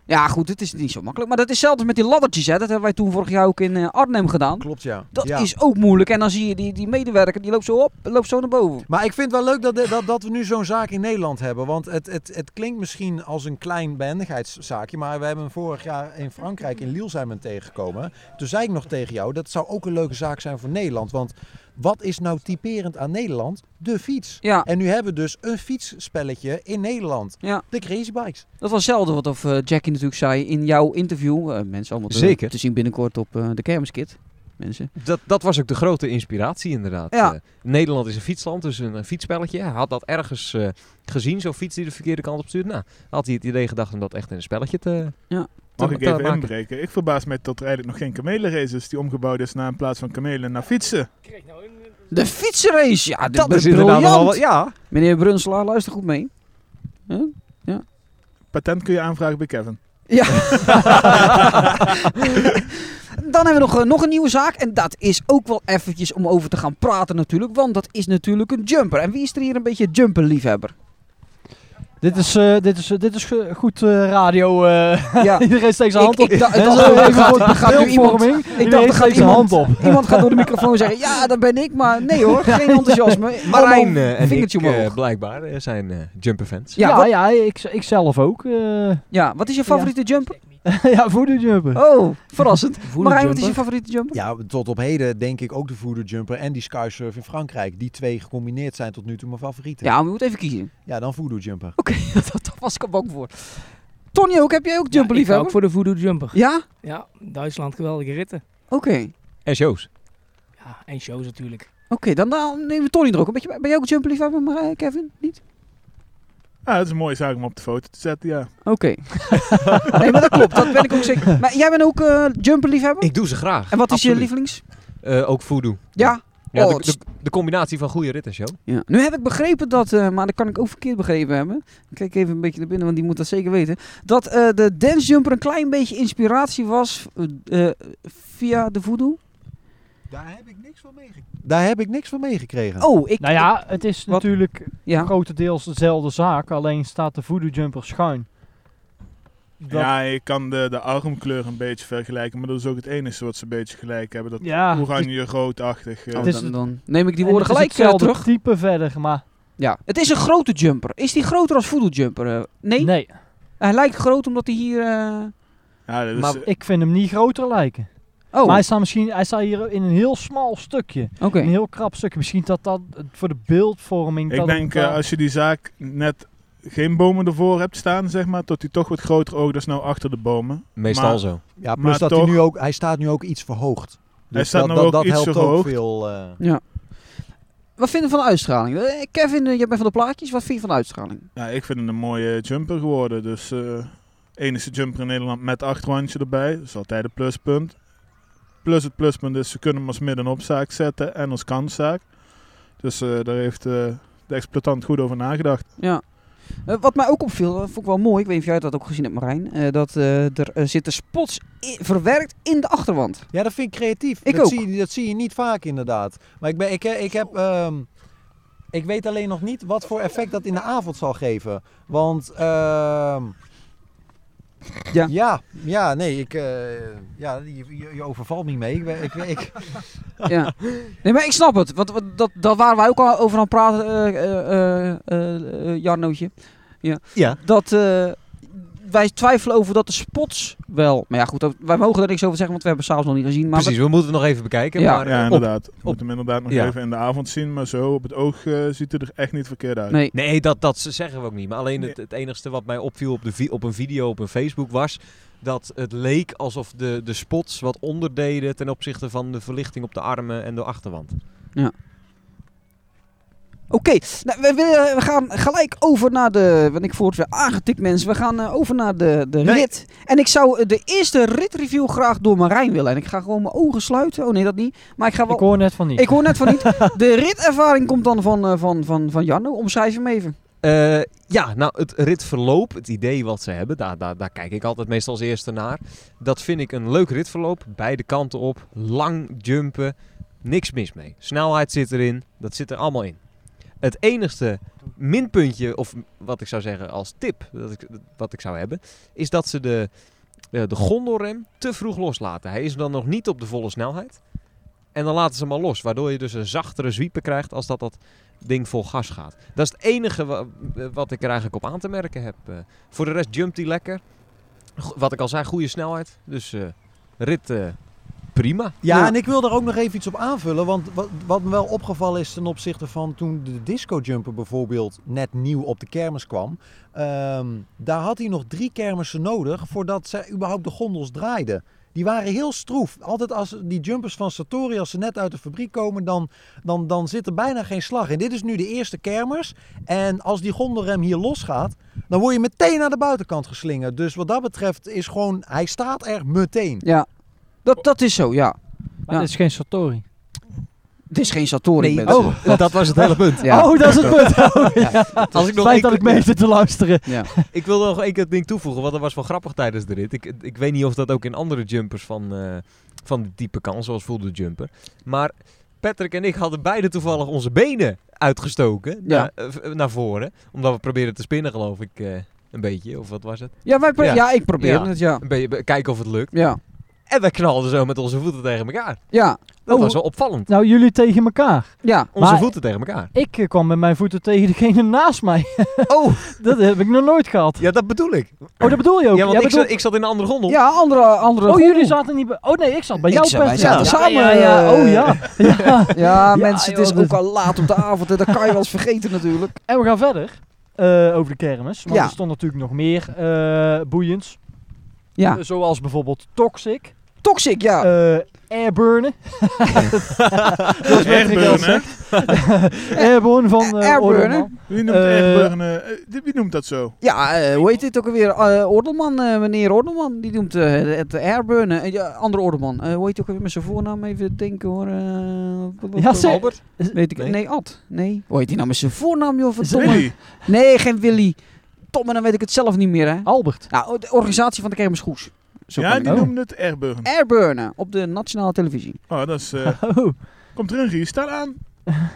Ja, goed, het is niet zo makkelijk. Maar dat is hetzelfde met die laddertjes. Hè. Dat hebben wij toen vorig jaar ook in eh, Arnhem gedaan.
Klopt ja.
Dat
ja.
is ook moeilijk. En dan zie je die, die medewerker, die loopt zo op, loopt zo naar boven.
Maar ik vind het wel leuk dat, dat, dat we nu zo'n zaak in Nederland hebben. Want het, het, het klinkt misschien als een klein behendigheidszaakje. Maar we hebben hem vorig jaar in Frankrijk, in Lille zijn we hem tegengekomen. Toen zei ik nog tegen jou, dat zou ook een leuke zaak zijn voor Nederland. Want wat is nou typerend aan Nederland? De fiets.
Ja,
En nu hebben we dus een fietsspelletje in Nederland.
Ja.
De Crazy Bikes.
dat was hetzelfde wat of, eh, Jackie natuurlijk zei in jouw interview. Eh, mensen allemaal te,
Zeker.
te zien binnenkort op eh, de Kermiskit. Mensen.
Dat, dat was ook de grote inspiratie inderdaad.
Ja.
Eh, Nederland is een fietsland, dus een, een fietsspelletje. Hij had dat ergens eh, gezien, zo'n fiets die de verkeerde kant op stuurt. Nou, had hij het idee gedacht om dat echt in een spelletje te...
Ja.
te-
Mag ik
te
even
maken.
inbreken? Ik verbaas me dat er eigenlijk nog geen kamelenrace is die omgebouwd is naar in plaats van kamelen naar fietsen.
De fietsenrace! Ja, dat,
Dat
is
is inderdaad wel
briljant!
wat... Ja,
Meneer Brunselaar, luister goed mee.
Patent kun je aanvragen bij Kevin.
Ja. Dan hebben we nog, eh, nog een nieuwe zaak. En dat is ook wel eventjes om over te gaan praten natuurlijk. Want dat is natuurlijk een jumper. En wie is er hier een beetje jumperliefhebber?
Dit is, eh, dit is, eh, dit is ge- goed eh, radio. eh.
Ja.
Iedereen steekt zijn
Ik-
hand
ik
op.
dacht-
Hè,
ik dacht,
zo
er
even
gaat-
voor
er gaat nu
beeldvorming.
Ik
Iedereen
dacht, er gaat
steekt zijn hand
iemand,
op.
iemand gaat door de microfoon zeggen, ja, dat ben ik. Maar nee hoor, geen enthousiasme.
Marijn
Allemaal
eh, en ik
vingertje
eh,
omhoog.
blijkbaar eh, zijn jumper jumperfans.
Ja,
Ja, ja,
wat-
ik, ik zelf ook. eh.
Ja, wat is je favoriete jumper?
ja, voodoo-jumpen.
Oh, verrassend. Marijn, wat is je
jumper.
favoriete jumper?
Ja, tot op heden denk ik ook de voodoo jumper en die skysurf in Frankrijk. Die twee gecombineerd zijn tot nu toe mijn favorieten.
Ja, maar je moet even kiezen.
ja dan voodoo jumper.
Oké, dat, dat was ik al bang voor. Tony ook, heb jij ook jumperliefhebber?
ook voor de voodoo jumper.
Ja?
Ja, Duitsland, geweldige ritten.
Oké.
En shows.
Ja, en shows natuurlijk.
Oké, dan, dan nemen we Tony er ook een beetje bij. Ben jij ook jumperliefhebber, Marij, Kevin? Niet?
Ah, dat is een mooie zaak om op de foto te zetten, ja.
Oké. nee, maar dat klopt. Dat ben ik ook zeker. Maar jij bent ook eh jumperliefhebber?
Ik doe ze graag.
En wat is
Absoluut.
je lievelings?
Eh, ook voodoo.
Ja.
Ja,
Oh,
de,
het is-
de, de combinatie van goede rit en show.
ja. Nu heb ik begrepen dat, eh, maar dat kan ik ook verkeerd begrepen hebben. Ik kijk even een beetje naar binnen, want die moet dat zeker weten. Dat eh, de dance jumper een klein beetje inspiratie was eh, eh, via de voodoo.
Daar heb ik niks van meegekregen. Daar heb ik niks van meegekregen.
Oh, ik...
Nou ja, het is
Wat?
natuurlijk
Ja.
grotendeels dezelfde zaak. Alleen staat de voodoo-jumper schuin. Dat-
Ja, je kan de, de armkleur een beetje vergelijken, maar dat is ook het enige wat ze een beetje gelijk hebben. Dat
ja, dus- het
oranje roodachtig. eh.
Oh,
Het is
dan,
het-
dan neem ik
is-
die woorden
en het
gelijk
is
eh,
hetzelfde
terug.
type verder, maar
Ja. Het is een grote jumper. Is die groter als voodoo jumper? eh? nee?
nee.
Hij lijkt groot omdat hij hier... eh,
ja, dat is,
Maar-
eh,
Ik vind hem niet groter lijken.
Oh,
Maar hij staat, misschien, hij staat hier in een heel smal stukje.
oké.
Een heel krap stukje. Misschien dat dat eh, voor de beeldvorming...
ik
dat het
denk
dan-
eh, als je die zaak net geen bomen ervoor hebt staan, zeg maar, tot die toch wat groter oog is nou achter de bomen.
Meestal
Maar-
zo.
Ja, plus
maar
dat
toch-
hij nu ook, hij staat nu ook iets verhoogd. Dus
Hij staat
dat,
nou
dat,
ook
dat
iets
helpt ook
verhoogd.
veel. eh.
Wat vinden we van de uitstraling? Eh, Kevin, eh, jij bent van de plaatjes. Wat vind je van de uitstraling?
Ja, ik vind het een mooie jumper geworden. Dus eh enige jumper in Nederland met achterhandje erbij. Dat is altijd een pluspunt. Plus het pluspunt is, ze kunnen hem als middenopzaak zetten en als kanszaak. Dus eh, daar heeft eh, de exploitant goed over nagedacht.
Ja. Eh, wat mij ook opviel, dat vond ik wel mooi. Ik weet niet of jij dat ook gezien hebt, Marijn. eh, dat eh, er eh, zitten spots i- verwerkt in de achterwand.
Ja, dat vind ik creatief.
Ik
dat,
ook.
Zie, je- dat zie je niet vaak inderdaad. Maar ik, ben, ik, eh, ik heb... ehm, ik weet alleen nog niet wat voor effect dat in de avond zal geven. Want ehm,
Ja.
Ja, ja, nee, ik, eh, ja, je, je- je overvalt me mee. Ik, ben- ik, ik,
ja. Nee, maar ik snap het. Want, want dat, dat waren wij ook al over aan het praten, eh, eh, eh, eh, eh, Jarnootje.
ja.
Dat eh, wij twijfelen over dat de spots wel... Maar ja, goed, dat- wij mogen er niks over zeggen, want we hebben s'avonds nog niet gezien. Maar
Precies, we moeten het nog even bekijken.
Ja.
maar, eh,
Ja,
op-
inderdaad. We moeten hem inderdaad nog
Ja.
even in de avond zien, maar zo op het oog eh, ziet het er echt niet verkeerd uit.
nee,
Nee, dat, dat zeggen we ook niet. Maar alleen het, het enigste wat mij opviel op, de vi- op een video op een Facebook was... dat het leek alsof de, de spots wat onderdeden ten opzichte van de verlichting op de armen en de achterwand.
Oké, nou, we, willen- we gaan gelijk over naar de. Want ik voel het weer aangetikt, mensen. We gaan eh, over naar de, de
Nee.
rit. En ik zou eh, de eerste ritreview graag door Marijn willen. En ik ga gewoon mijn ogen sluiten. Oh nee, dat niet. Maar ik ga wel.
Ik hoor net van niet.
Ik hoor net van niet. De ritervaring komt dan van, eh, van, van, van Jarno. Omschrijf hem even.
Eh, ja, nou, het ritverloop, het idee wat ze hebben, daar, daar, daar kijk ik altijd meestal als eerste naar. Dat vind ik een leuk ritverloop. Beide kanten op, lang jumpen, niks mis mee. Snelheid zit erin, dat zit er allemaal in. Het enigste minpuntje, of wat ik zou zeggen als tip, dat ik, wat ik zou hebben, is dat ze de, eh, de gondelrem te vroeg loslaten. Hij is dan nog niet op de volle snelheid. En dan laten ze hem al los, waardoor je dus een zachtere zwiepen krijgt als dat dat ding vol gas gaat. Dat is het enige wa- eh, wat ik er eigenlijk op aan te merken heb. eh. voor de rest jumpt hij lekker. Go- wat ik al zei, goede snelheid. Dus eh, rit eh, prima.
Ja,
Ja.
en ik wil daar ook nog even iets op aanvullen. Want wat, wat me wel opgevallen is ten opzichte van toen de Disco Jumper bijvoorbeeld net nieuw op de kermis kwam. ehm, daar had hij nog drie kermissen nodig voordat ze überhaupt de gondels draaiden. Die waren heel stroef. Altijd als die jumpers van Satori, als ze net uit de fabriek komen, dan, dan, dan zit er bijna geen slag in. Dit is nu de eerste kermis. En als die gondelrem hier losgaat, dan word je meteen naar de buitenkant geslingerd. Dus wat dat betreft is gewoon, hij staat er meteen.
Ja, dat, dat is zo, ja.
Maar dit is geen Satori.
Het is geen Satori.
Nee,
mensen.
want dat was het hele punt.
ja.
Oh, dat is het punt. Oh, ja.
Als ik nog
Fijn
één
dat
keer-
ik mee zit te luisteren.
ja.
Ik wilde nog één keer het ding toevoegen, want dat was wel grappig tijdens de rit. Ik, ik weet niet of dat ook in andere jumpers van, eh van de diepe kan, zoals Full the Jumper. Maar Patrick en ik hadden beide toevallig onze benen uitgestoken
Ja.
naar, eh, v- naar voren. Omdat we probeerden te spinnen, geloof ik, eh, een beetje. Of wat was het?
Ja, wij pro-
Ja.
ja, ik probeer
Ja.
het, ja.
Een beetje kijken of het lukt.
Ja,
En wij knalden zo met onze voeten tegen elkaar.
ja,
Dat
Oh.
was wel opvallend.
Nou, jullie tegen elkaar.
ja.
Onze
Maar-
voeten tegen elkaar.
Ik eh, kwam met mijn voeten tegen degene naast mij.
Oh,
dat heb ik nog nooit gehad.
ja, dat bedoel ik.
Oh, dat bedoel je ook.
Ja, want
Jij
ik,
bedoelt-
zat, ik zat in een andere gondel.
Ja, andere... andere
Oh,
golven.
jullie zaten niet bij... Oh nee, ik zat bij
Ik
jou,
zat- wij
Patrick.
zaten
Ja.
samen,
Ja, ja, ja.
eh,
Oh ja. ja.
Ja, mensen, het is
joh, dat-
ook al laat op de avond en dat kan je wel eens vergeten natuurlijk.
En we gaan verder. eh, over de kermis. Want
Ja.
er stond natuurlijk nog meer eh boeiends. Eh,
Ja,
Zoals bijvoorbeeld Toxic.
toxic, ja.
eh, airburnen.
Dat is Airburn, hè?
Airburn van eh
Airburnen.
Orderman.
Wie noemt
Eh,
Airburn, eh, eh, wie noemt dat zo?
Ja, eh, hoe heet dit ook alweer? Eh Ordelman, eh, meneer Ordelman, die noemt eh, het airburnen. Eh, ja, andere Ordelman, Eh, hoe heet die ook alweer met zijn voornaam? Even denken hoor. eh,
Ja, zeg.
Albert?
Weet ik, nee.
Nee.
Ad. Nee. Hoe heet die nou met zijn voornaam, joh? Verdomme.
Willy.
Nee, geen Willy. Tom, en dan weet ik het zelf niet meer, hè?
Albert.
Nou, de organisatie van de kermis Goes. Zo kan
Ja,
ik
die
het.
noemt het Airburn.
Airburnen op de nationale televisie.
Oh, dat is... eh,
Oh.
komt er een riestal aan.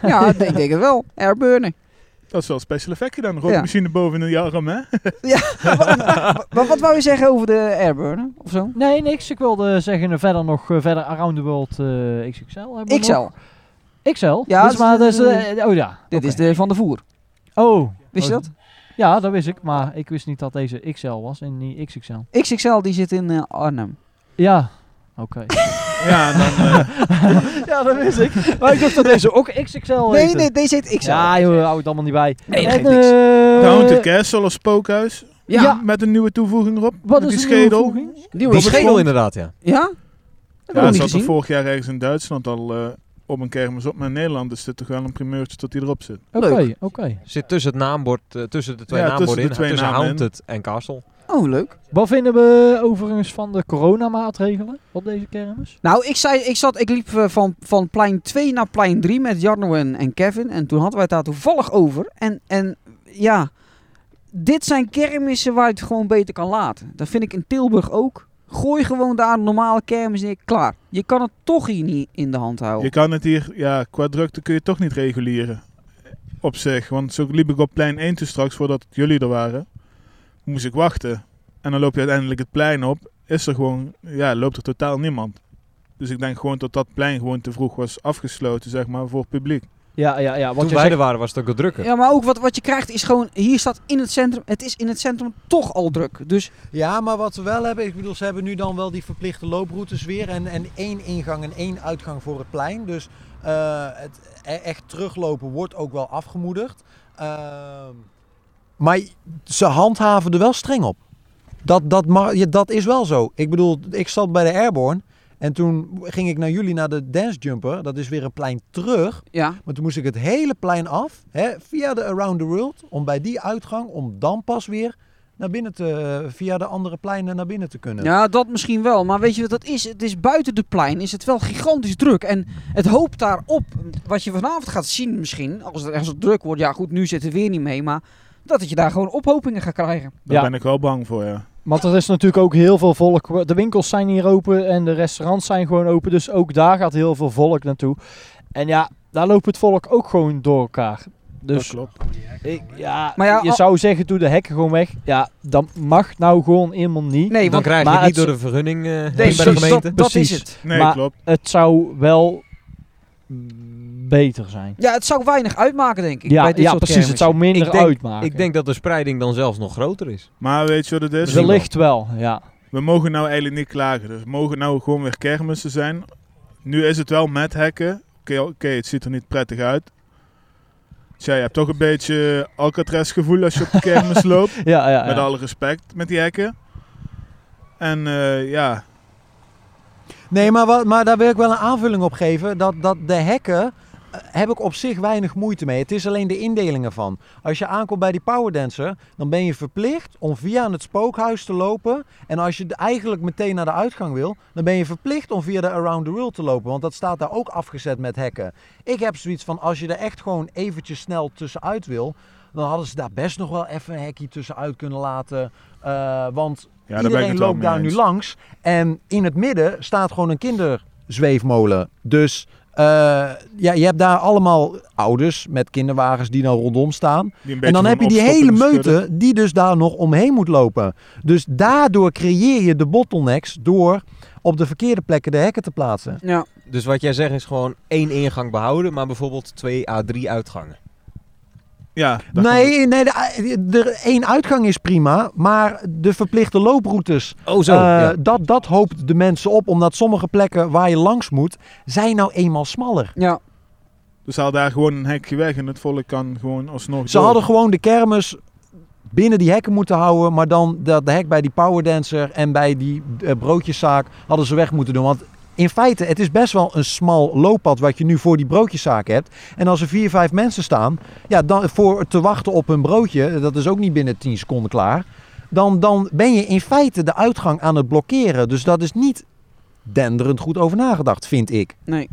Ja, ik denk het wel. Airburnen.
Dat is wel special effect dan. Rookmachine machine boven in de arm, hè?
Maar wat wou je zeggen over de airburnen of zo?
Nee, niks. Ik wilde zeggen verder nog eh, verder Around the World eh, XXL. hebben we
Ik zal.
nog. XL?
Ja,
Ja, dus,
dat
maar dat
is,
is, eh, oh ja.
Dit
oké.
is de Van de Voer.
Oh.
Wist je
Oh,
dat?
Ja, dat wist ik. Maar ik wist niet dat deze XL was en niet XXL.
XXL die zit in eh, Arnhem.
Ja. Oké.
Ja, en dan... eh,
ja, dat wist ik. Maar ik dacht dat deze ook XXL
Nee,
heette.
nee, deze heet XL.
Ja, joh, hou het allemaal niet bij.
Nee, dat
En,
geeft niks.
eh,
Haunted Castle of Spookhuis.
Ja.
Met een nieuwe toevoeging erop.
Wat
met
is
die
de nieuwe
schedel.
voeging?
Die
Die
wordt-
schedel inderdaad, ja.
Ja? Dat
Ja,
heb ik
dat
niet
zat er
gezien.
vorig jaar ergens in Duitsland al eh, op een kermis op. Maar in Nederland is dit toch wel een primeurtje dat die erop zit.
Oké,
Leuk.
oké.
Zit tussen het naambord, eh, tussen de twee
Ja,
naamborden
tussen de
in,
twee
tussen
namen in.
Haunted en Castle.
Oh, leuk.
Wat vinden we overigens van de coronamaatregelen op deze kermis?
Nou, ik, zei, ik, zat, ik liep eh, van, van plein 2 naar plein 3 met Jarno en, en Kevin. En toen hadden wij het daar toevallig over. En, en ja, dit zijn kermissen waar je het gewoon beter kan laten. Dat vind ik in Tilburg ook. Gooi gewoon daar een normale kermis neer. Klaar. Je kan het toch hier niet in de hand
Oh.
houden.
Je kan het hier, ja, qua drukte kun je het toch niet reguleren. Op zich. Want zo liep ik op plein 1 toen straks, voordat jullie er waren. Moest ik wachten. En dan loop je uiteindelijk het plein op. Is er gewoon, ja, loopt er totaal niemand. Dus ik denk gewoon dat dat plein gewoon te vroeg was afgesloten, zeg maar, voor het publiek.
Ja, ja, ja.
Toen
Want
wij
je
er
zegt,
waren was het ook al drukker.
Ja, maar ook wat, wat je krijgt is gewoon, hier staat in het centrum, het is in het centrum toch al druk. Dus
Ja, maar wat we wel hebben, ik bedoel, ze hebben nu dan wel die verplichte looproutes weer. En, en één ingang en één uitgang voor het plein. Dus eh, het e- echt teruglopen wordt ook wel afgemoedigd. Ehm, maar ze handhaven er wel streng op. Dat, dat, mag, ja, dat is wel zo. Ik bedoel, ik zat bij de Airborne. En toen ging ik naar jullie naar de Dance Jumper. Dat is weer een plein terug.
ja,
Maar toen moest ik het hele plein af, hè, via de Around the World, om bij die uitgang, om dan pas weer naar binnen te, eh, via de andere pleinen naar binnen te kunnen.
ja, dat misschien wel. Maar weet je wat dat is? Het is buiten de plein, is het wel gigantisch druk. En het hoopt daarop, wat je vanavond gaat zien misschien, als het, als het druk wordt. Ja goed, nu zit er weer niet mee, maar dat het je daar gewoon ophopingen gaat krijgen.
Daar
Ja.
ben ik wel bang voor, ja.
want er is natuurlijk ook heel veel volk. De winkels zijn hier open en de restaurants zijn gewoon open. Dus ook daar gaat heel veel volk naartoe. En ja, daar loopt het volk ook gewoon door elkaar.
Dat
Dus
klopt.
ik, ja,
Maar ja,
je
al-
zou zeggen, doe de hekken gewoon weg. Ja, dat mag nou gewoon helemaal niet.
Nee,
dan
want
krijg je
maar
het niet
het-
door de vergunning eh,
nee,
bij de
precies, dat,
gemeente.
dat is
Precies.
het.
Nee,
Maar-
klopt.
Het zou wel beter zijn.
Ja, het zou weinig uitmaken denk ik.
ja,
bij dit
ja
soort
precies. Het
kermissen.
zou minder
Ik denk-
uitmaken.
Ik denk dat de spreiding dan zelfs nog groter is.
Maar weet je wat het is?
Misschien
Dus Wellicht wel, ja.
We mogen nou eigenlijk niet klagen. Dus mogen nou gewoon weer kermissen zijn. Nu is het wel met hekken. Oké, oké, het ziet er niet prettig uit. Tja, je hebt toch een beetje Alcatraz gevoel als je op de kermis loopt.
Ja, ja,
Met
ja.
alle respect met die hekken. En eh, ja,
Nee, maar, wat, maar daar wil ik wel een aanvulling op geven. Dat, dat de hekken eh, heb ik op zich weinig moeite mee. Het is alleen de indelingen van. Als je aankomt bij die powerdancer, dan ben je verplicht om via het spookhuis te lopen. En als je d- eigenlijk meteen naar de uitgang wil, dan ben je verplicht om via de Around the World te lopen. Want dat staat daar ook afgezet met hekken. Ik heb zoiets van, als je er echt gewoon eventjes snel tussenuit wil... dan hadden ze daar best nog wel even een hekje tussenuit kunnen laten. Eh, want
ja daar ben ik
Iedereen
het wel
loopt
mee
daar nu
eens.
langs. En in het midden staat gewoon een kinderzweefmolen. Dus eh, ja, je hebt daar allemaal ouders met kinderwagens die dan rondom staan.
Die een
en dan
beetje
heb
van
je die hele
opstoppende schudden.
meute die dus daar nog omheen moet lopen. Dus daardoor creëer je de bottlenecks door op de verkeerde plekken de hekken te plaatsen.
Ja.
Dus wat jij zegt is gewoon één ingang behouden, maar bijvoorbeeld twee à drie uitgangen.
Ja, daar komt het.
Nee, nee, de, de één uitgang is prima, maar de verplichte looproutes
Oh zo,
Eh, dat, dat hoopt de mensen op, omdat sommige plekken waar je langs moet, zijn nou eenmaal smaller.
Ja,
Dus haal daar gewoon een hekje weg en het volk kan gewoon alsnog
Ze
door.
hadden gewoon de kermis binnen die hekken moeten houden, maar dan dat de hek bij die powerdancer en bij die eh, broodjeszaak hadden ze weg moeten doen. Want in feite, het is best wel een smal looppad wat je nu voor die broodjeszaak hebt. En als er vier, vijf mensen staan, ja, dan voor te wachten op hun broodje, dat is ook niet binnen 10 seconden klaar. Dan, dan ben je in feite de uitgang aan het blokkeren. Dus dat is niet denderend goed over nagedacht, vind ik.
nee.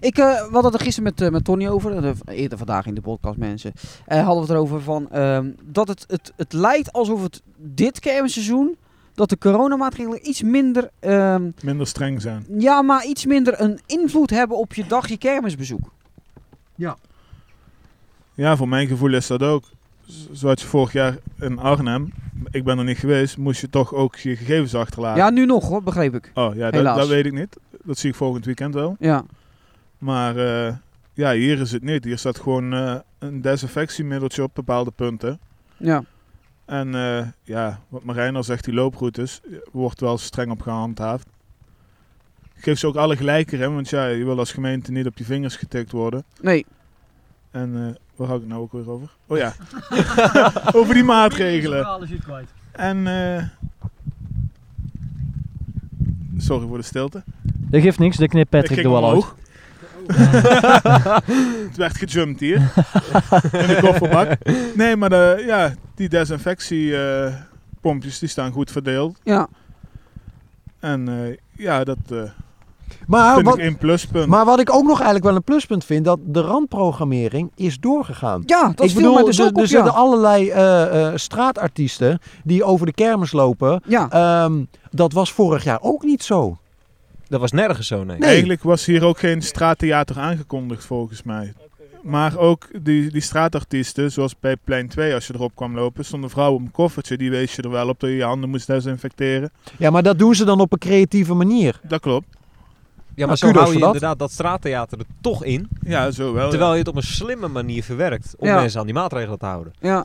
Ik, eh we hadden het er gisteren met, eh, met Tony over, eh, eerder vandaag in de podcast mensen, eh, hadden we het erover van ehm, dat het, het, het lijkt alsof het dit kermisseizoen, dat de coronamaatregelen iets minder, ehm,
minder streng zijn.
ja maar iets minder een invloed hebben op je dagje kermisbezoek.
Ja, voor mijn gevoel is dat ook. Z- Zoals je vorig jaar in Arnhem, ik ben er niet geweest, moest je toch ook je gegevens achterlaten.
Ja, nu nog hoor, begreep ik.
Oh ja, dat,
Helaas.
dat weet ik niet. Dat zie ik volgend weekend wel.
Ja,
Maar eh, ja, hier is het niet. Hier staat gewoon eh, een desinfectiemiddeltje op bepaalde punten.
ja.
En eh, ja, wat Marijn al zegt, die looproutes eh, wordt wel streng op gehandhaafd. Ik geef ze ook alle gelijk erin, want ja, je wil als gemeente niet op je vingers getikt worden.
Nee,
En eh, waar hou ik het nou ook weer over? Oh ja, over die maatregelen. En eh, sorry voor de stilte.
Dat geeft niks, dat knipt
ik
Patrick er
ging
wel uit.
omhoog. Het werd gejumpt hier. In de kofferbak. Nee, maar de, ja, die desinfectiepompjes die staan goed verdeeld.
ja.
En eh, ja, dat eh
Maar
vind
wat,
ik één pluspunt.
Maar wat ik ook nog eigenlijk wel een pluspunt vind, dat de randprogrammering is doorgegaan.
Ja, dat
ik
viel
bedoel,
mij dus
er-
ook op,
er
ja.
zitten allerlei eh, eh, straatartiesten die over de kermis lopen.
Ja,
Ehm, dat was vorig jaar ook niet zo.
Dat was nergens zo, nee.
Nee.
Eigenlijk was hier ook geen straattheater aangekondigd volgens mij. Maar ook die, die straatartiesten, zoals bij plein 2 als je erop kwam lopen, stonden vrouwen op een koffertje. Die wees je er wel op dat je je handen moest desinfecteren.
Ja, maar dat doen ze dan op een creatieve manier.
Dat klopt.
Ja, maar
Nou,
zo
kudos
hou je
voor dat.
inderdaad dat straattheater er toch in.
Ja, zo wel. Oh, ja.
Terwijl je het op een slimme manier verwerkt om
Ja.
mensen aan die maatregelen te houden.
Ja,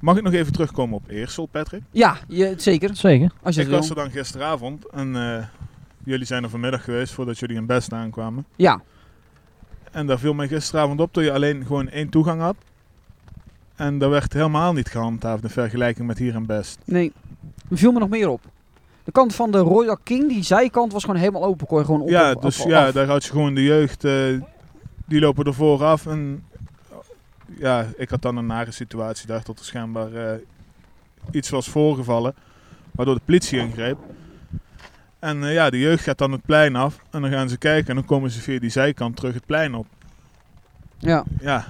Mag ik nog even terugkomen op Eersel, Patrick?
ja je, zeker.
Zeker.
Als je
Ik
het wil.
was er dan gisteravond en eh, jullie zijn er vanmiddag geweest voordat jullie in Best aankwamen.
Ja,
En daar viel mij gisteravond op dat je alleen gewoon één toegang had. En daar werd helemaal niet gehandhaafd in vergelijking met hier in Best.
nee. Er viel me nog meer op. De kant van de Royal King, die zijkant, was gewoon helemaal open. Kon je gewoon op
ja,
op-
dus
op-
ja,
af.
daar had je gewoon de jeugd, eh, die lopen er vooraf. En ja, ik had dan een nare situatie daar, dat er schijnbaar eh, iets was voorgevallen, waardoor de politie ingreep. En eh, ja, de jeugd gaat dan het plein af en dan gaan ze kijken en dan komen ze via die zijkant terug het plein op.
Ja.
Ja,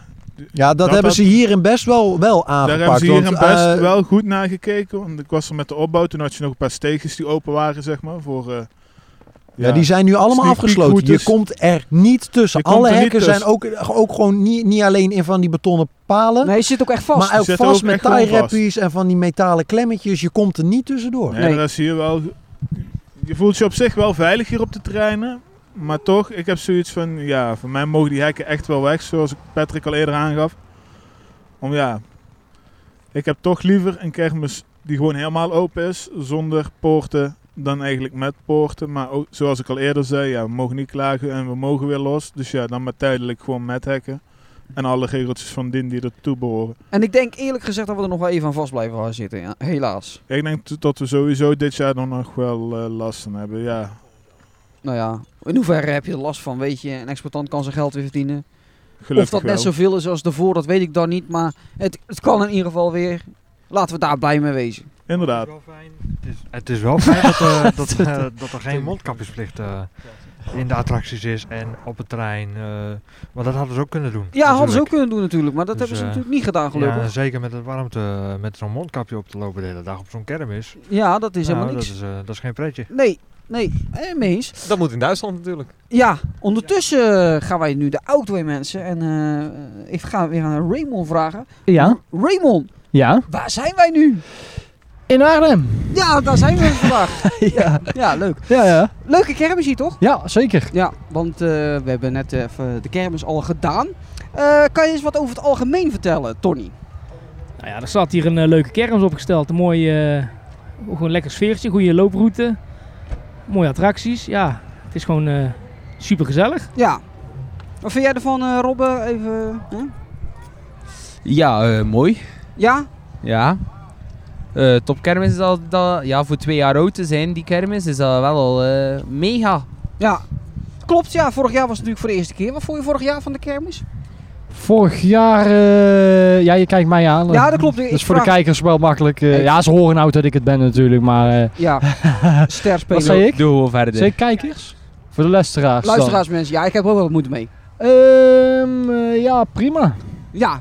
Ja, dat,
Dat-
hebben
dat-
ze hier in best wel, wel
Daar
aangepakt.
hebben ze hier
want,
in best
eh,
wel goed naar gekeken. Want ik was er met de opbouw. Toen had je nog een paar steegjes die open waren, zeg maar. Voor, eh,
Ja, die zijn nu allemaal
Sneak peek
afgesloten. Je
routes.
komt er niet tussen.
Je komt
Alle
er niet
hekken zijn
tussen.
ook, ook gewoon niet, niet alleen in van die betonnen palen.
Nee, je zit ook echt vast.
Maar ook
zitten
vast
ook
met
echt gewoon
tie-rappies en van die metalen klemmetjes. Je komt er niet tussendoor.
nee,
nee.
daar is hier wel... Je voelt je op zich wel veilig hier op de terreinen. Maar toch, ik heb zoiets van... Ja, voor mij mogen die hekken echt wel weg. Zoals ik Patrick al eerder aangaf. Om ja... Ik heb toch liever een kermis die gewoon helemaal open is. Zonder poorten dan eigenlijk met poorten. Maar ook, zoals ik al eerder zei, ja, we mogen niet klagen en we mogen weer los. Dus ja, dan maar tijdelijk gewoon met hekken. En alle regeltjes van dien die ertoe behoren.
En ik denk eerlijk gezegd dat we er nog wel even aan vast blijven gaan zitten. Ja. Helaas.
Ja, ik denk t- dat we sowieso dit jaar dan nog wel eh, last van hebben. Ja,
Nou ja, in hoeverre heb je er last van? Weet je, een exploitant kan zijn geld weer verdienen.
gelukkig
of dat
wel.
net zoveel is als daarvoor, dat weet ik dan niet. Maar het, het kan in ieder geval weer. Laten we daar blij mee wezen.
Inderdaad.
Het is wel fijn- Het is, het is wel fijn dat, eh, dat, eh, dat er geen mondkapjesplicht eh, in de attracties is en op het terrein. eh, maar dat hadden ze ook kunnen doen.
Ja, hadden ze ook
natuurlijk.
kunnen doen natuurlijk. Maar dat
Dus,
hebben ze
eh,
natuurlijk niet gedaan, gelukkig.
Ja,
Ja,
zeker met het warmte, eh, met zo'n mondkapje op te lopen de hele dag op zo'n kermis.
dat is
Nou,
helemaal niks.
Dat is, eh, dat is geen pretje.
Nee, nee, eh, mee eens.
Dat moet in Duitsland natuurlijk.
Ja, ondertussen eh, gaan wij nu de Outway mensen. En eh, ik ga weer aan Raymond vragen.
Ja.
Raymond,
Ja.
waar zijn wij nu?
In Arnhem.
Ja, daar zijn we vandaag.
ja.
Ja, leuk.
Ja, ja.
Leuke kermis hier, toch?
Ja, zeker.
Ja, want eh, we hebben net even de kermis al gedaan. Eh, kan je eens wat over het algemeen vertellen, Tony?
Nou ja, er staat hier een eh, leuke kermis opgesteld. Een mooi, eh, gewoon lekker sfeertje, goede looproute. Mooie attracties. Ja, het is gewoon eh, super gezellig.
Ja. Wat vind jij ervan, eh Robbe? Even, hè?
Ja, eh, mooi.
Ja?
Ja. Eh topkermis is al, dat, ja, voor twee jaar oud te zijn, die kermis, is dat wel al eh, mega.
Ja. Klopt, ja. Vorig jaar was het natuurlijk voor de eerste keer. Wat vond je vorig jaar van de kermis?
Vorig jaar, eh, ja, je kijkt mij aan.
Ja, dat klopt. Ik
Dus voor de
vraag-
kijkers wel makkelijk. eh,
Hey.
ja, ze horen nou dat ik het ben natuurlijk, maar... eh
Ja. Ster
wat zei ik?
Doe gewoon verder.
Zeker kijkers? Voor de luisteraars dan.
Luisteraars, mensen. Ja, ik heb ook wel wat moeite mee.
Ehm, eh, ja, prima.
Ja,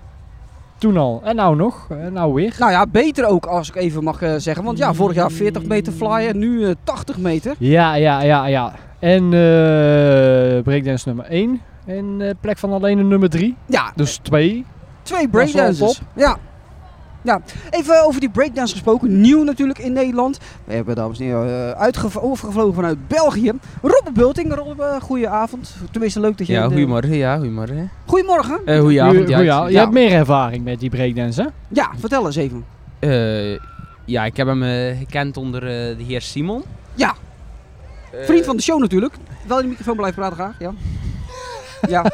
Toen al. En nou nog. En nou weer.
Nou ja, beter ook als ik even mag eh, zeggen. Want
Mm.
ja, vorig jaar 40 meter flyer, nu eh, 80 meter.
Ja, ja, ja, ja. En eh breakdance nummer 1. En eh, plek van alleen de nummer 3.
Ja,
Dus 2.
twee
Dat is wel
breakdancers. Ja. ja, even over die breakdance gesproken. Nieuw natuurlijk in Nederland. We hebben dames en heren eh, uitgev- overgevlogen vanuit België. Robert Bulting, Rob, eh, goedenavond. Tenminste, leuk dat je...
Ja,
de-
goedemorgen, ja, goedemorgen.
Goedemorgen.
Eh goedenavond, ja.
ja. Je
Ja.
hebt meer ervaring met die breakdance, hè?
Ja, vertel eens even.
Eh, ja, ik heb hem eh, gekend onder eh, de heer Simon.
Ja.
Eh,
Vriend van de show natuurlijk. Wel in de microfoon blijven praten graag, ja. Ja,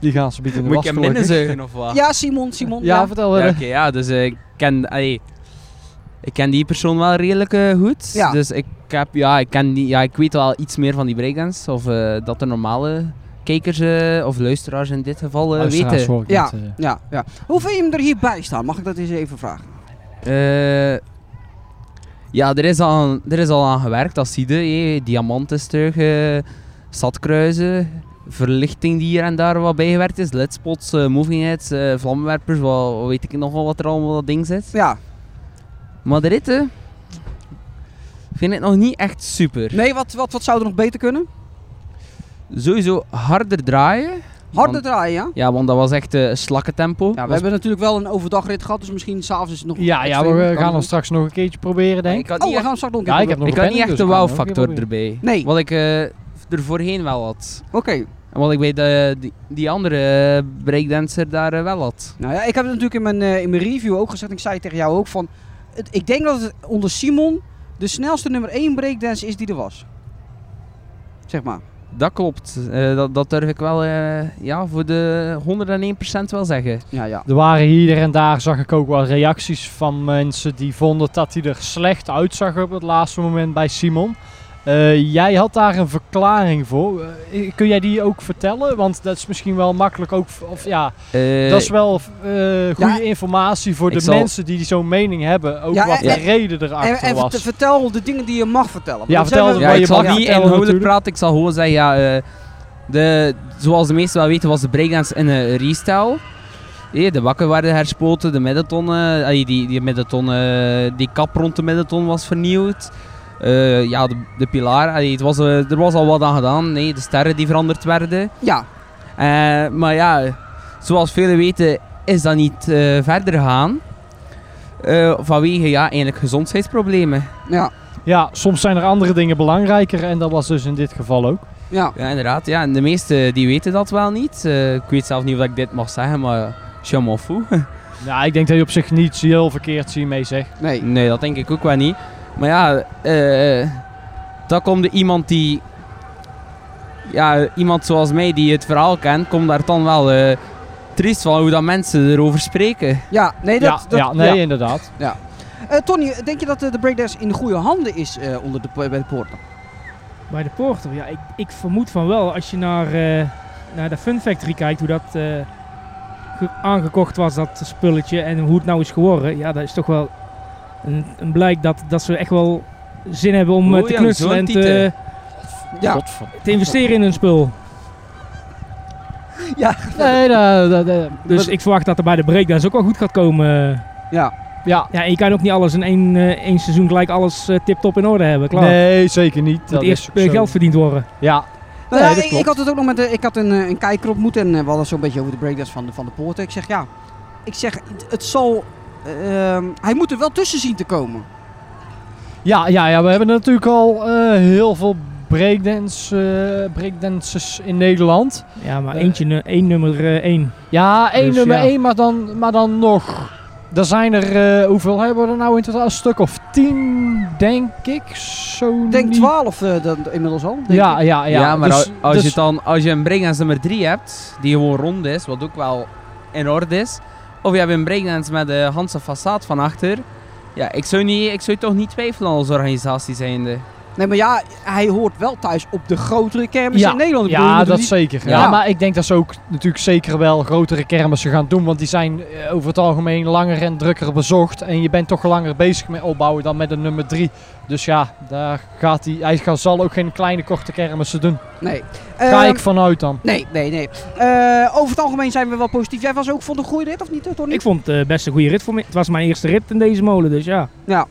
Die gaan ze bieden in de
Moet ik hem
was gooien.
binnenzuigen of wat?
ja Simon, Simon.
Ja, vertel
Ja,
verder.
Oké, ja, dus eh, ik ken... allee, ik ken die persoon wel redelijk eh, goed.
Ja.
Dus ik heb... Ja ik, ken die, ja, ik weet wel iets meer van die breakdance. Of eh, dat de normale kijkers eh, of luisteraars in dit geval eh,
Luisteraars
weten.
hoor ik
Ja,
niet, eh.
ja, ja. Hoe vind je hem er hierbij staan? Mag ik dat eens even vragen?
Eh, ja, er is, al, er is al aan gewerkt, dat zie je. hé. Diamant is terug, eh, stadkruisen, verlichting die hier en daar wat bijgewerkt is, lidspots, eh, moving heads, eh, vlammenwerpers, wat, wat weet ik nogal wat er allemaal dat ding zit.
Ja,
Maar de ritten vind ik nog niet echt super.
nee, wat, wat, wat zou er nog beter kunnen?
Sowieso harder draaien.
Harder
Want-
draaien, ja?
Ja, want dat was echt eh slakkentempo.
Ja, we
Was-
hebben natuurlijk wel een overdagrit gehad, dus misschien s'avonds is het nog...
Ja, ja,
extremer.
we
Kan
gaan
nog.
dan straks nog een keertje proberen, denk
ik
ik.
had
Oh,
niet
we
echt,
gaan straks nog een
Ja,
keer
ik heb nog
ik
een
had niet
planning,
echt
dus
de
ik ga hem nog een keer
wow-factor
proberen.
erbij.
Nee.
Wat ik eh, er voorheen wel had.
Oké.
En wat ik bij de, die, die andere eh, breakdancer daar eh, wel had.
Nou ja, ik heb het natuurlijk in mijn, eh, in mijn review ook gezegd. Ik zei tegen jou ook van... Het, ik denk dat het onder Simon de snelste nummer 1 breakdance is die er was. Zeg maar.
Dat klopt. Eh, dat, dat durf ik wel eh, ja, voor de 101% wel zeggen.
Ja, ja.
Er waren hier en daar, zag ik ook wel reacties van mensen die vonden dat hij er slecht uitzag op het laatste moment bij Simon. Eh, jij had daar een verklaring voor. Eh, kun jij die ook vertellen? Want dat is misschien wel makkelijk ook. v- Of ja,
Eh,
dat is wel eh, goede
Ja,
informatie voor
ik
de
zal-
mensen die zo'n mening hebben. Ook
Ja,
wat
en-
de reden
En,
erachter
en
was.
vert- vertel de dingen die je mag vertellen. want
Ja,
dat zijn
vertel
wel-
ja,
wat
ik
je
zal
mag
niet
vertellen
inhoudelijk
natuurlijk.
praten. Ik zal gewoon zeggen, ja, eh, de, zoals de meesten wel weten was de breakdance een eh, restyle. Eh, de bakken waren herspoten, de middenton, eh, allee, die, die, middenton eh, die kap rond de middenton was vernieuwd. Eh, ja, de, de pilaar, allee, het was, eh, er was al wat aan gedaan. Nee, de sterren die veranderd werden.
Ja,
Eh, maar ja, zoals velen weten is dat niet eh, verder gegaan. Eh, vanwege ja, eigenlijk gezondheidsproblemen.
ja,
Ja, soms zijn er andere dingen belangrijker en dat was dus in dit geval ook.
ja.
Ja, inderdaad. Ja, en de meesten die weten dat wel niet. Eh, ik weet zelf niet of ik dit mag zeggen, maar je m'en fout.
Ja, ik denk dat je op zich niet heel verkeerd zie mee zegt.
Nee.
Nee, dat denk ik ook wel niet. Maar ja, eh dan komt er iemand die... Ja, iemand zoals mij die het verhaal kent, komt daar dan wel eh triest van hoe dat mensen erover spreken.
Ja, nee, dat...
ja,
dat
ja, nee,
ja.
inderdaad.
Eh, Tony, denk je dat eh, de breakdance in goede handen is eh, onder de, bij de poorten?
Bij de Porter, ja, ik, ik vermoed van wel. Als je naar, eh, naar de Fun Factory kijkt, hoe dat eh, ge- aangekocht was, dat spulletje, en hoe het nou is geworden. Ja, dat is toch wel een, een blijk dat, dat ze echt wel zin hebben om eh,
Oei,
te
ja,
knutselen
zo'n
en te,
titel.
Ja.
te investeren in hun spul.
Nee, dat, dat, dat-
Dus ik verwacht dat er bij de breakdance ook wel goed gaat komen.
Ja. Nou
ja.
Ja, en je kan ook niet alles in één, eh, één seizoen gelijk alles eh, tip-top in orde hebben, klaar.
Nee, zeker niet.
moet eerst eh, geld verdiend worden.
Ja,
Nou,
Nee,
ja,
dat
ik,
klopt.
ik had het ook nog met de, ik had een, eh, een kijker op moeten en eh, we hadden zo'n beetje over de breakdance van de, van de poorten. Ik zeg ja, ik zeg, het- het zal, eh, ehm, hij moet er wel tussen zien te komen.
ja, ja, ja, we hebben natuurlijk al eh, heel veel breakdance, eh, breakdancers in Nederland.
Ja, maar
Eh,
eentje, nu- één nummer eh, één.
Ja, één
Dus
nummer
ja.
één, maar dan, maar dan nog. Er zijn er, eh, hoeveel hebben we er nou in totaal? Een stuk of tien, denk ik. Zo
Ik denk
niet.
12 eh, dan, inmiddels al. Denk
Ja,
ik.
ja, ja.
Ja, maar
Dus-
al- als,
dus-
je dan, als je een breakdance nummer 3 hebt, die gewoon rond is, wat ook wel in orde is. Of je hebt een breakdance met de Hanse façade van achter. Ja, ik zou, niet, ik zou toch niet twijfelen als organisatie zijnde.
Nee, maar ja, hij hoort wel thuis op de grotere kermis
Ja,
in Nederland. Ik bedoel, je
Ja,
moet
dat
hem
zeker. Ja.
Ja.
maar ik denk dat ze ook natuurlijk zeker wel grotere kermissen gaan doen. Want die zijn eh, over het algemeen langer en drukker bezocht. En je bent toch langer bezig met opbouwen dan met een nummer 3. Dus ja, daar gaat hij. Hij gaat, zal ook geen kleine korte kermissen doen.
niet- Nee.
Ga
Ehm,
ik vanuit dan.
Nee, nee, nee. Eh, over het algemeen zijn we wel positief. Jij was ook van de goede rit, of niet, eh, Tony?
Ik vond het best een goede rit voor me. Het was mijn eerste rit in deze molen, dus ja.
Ja.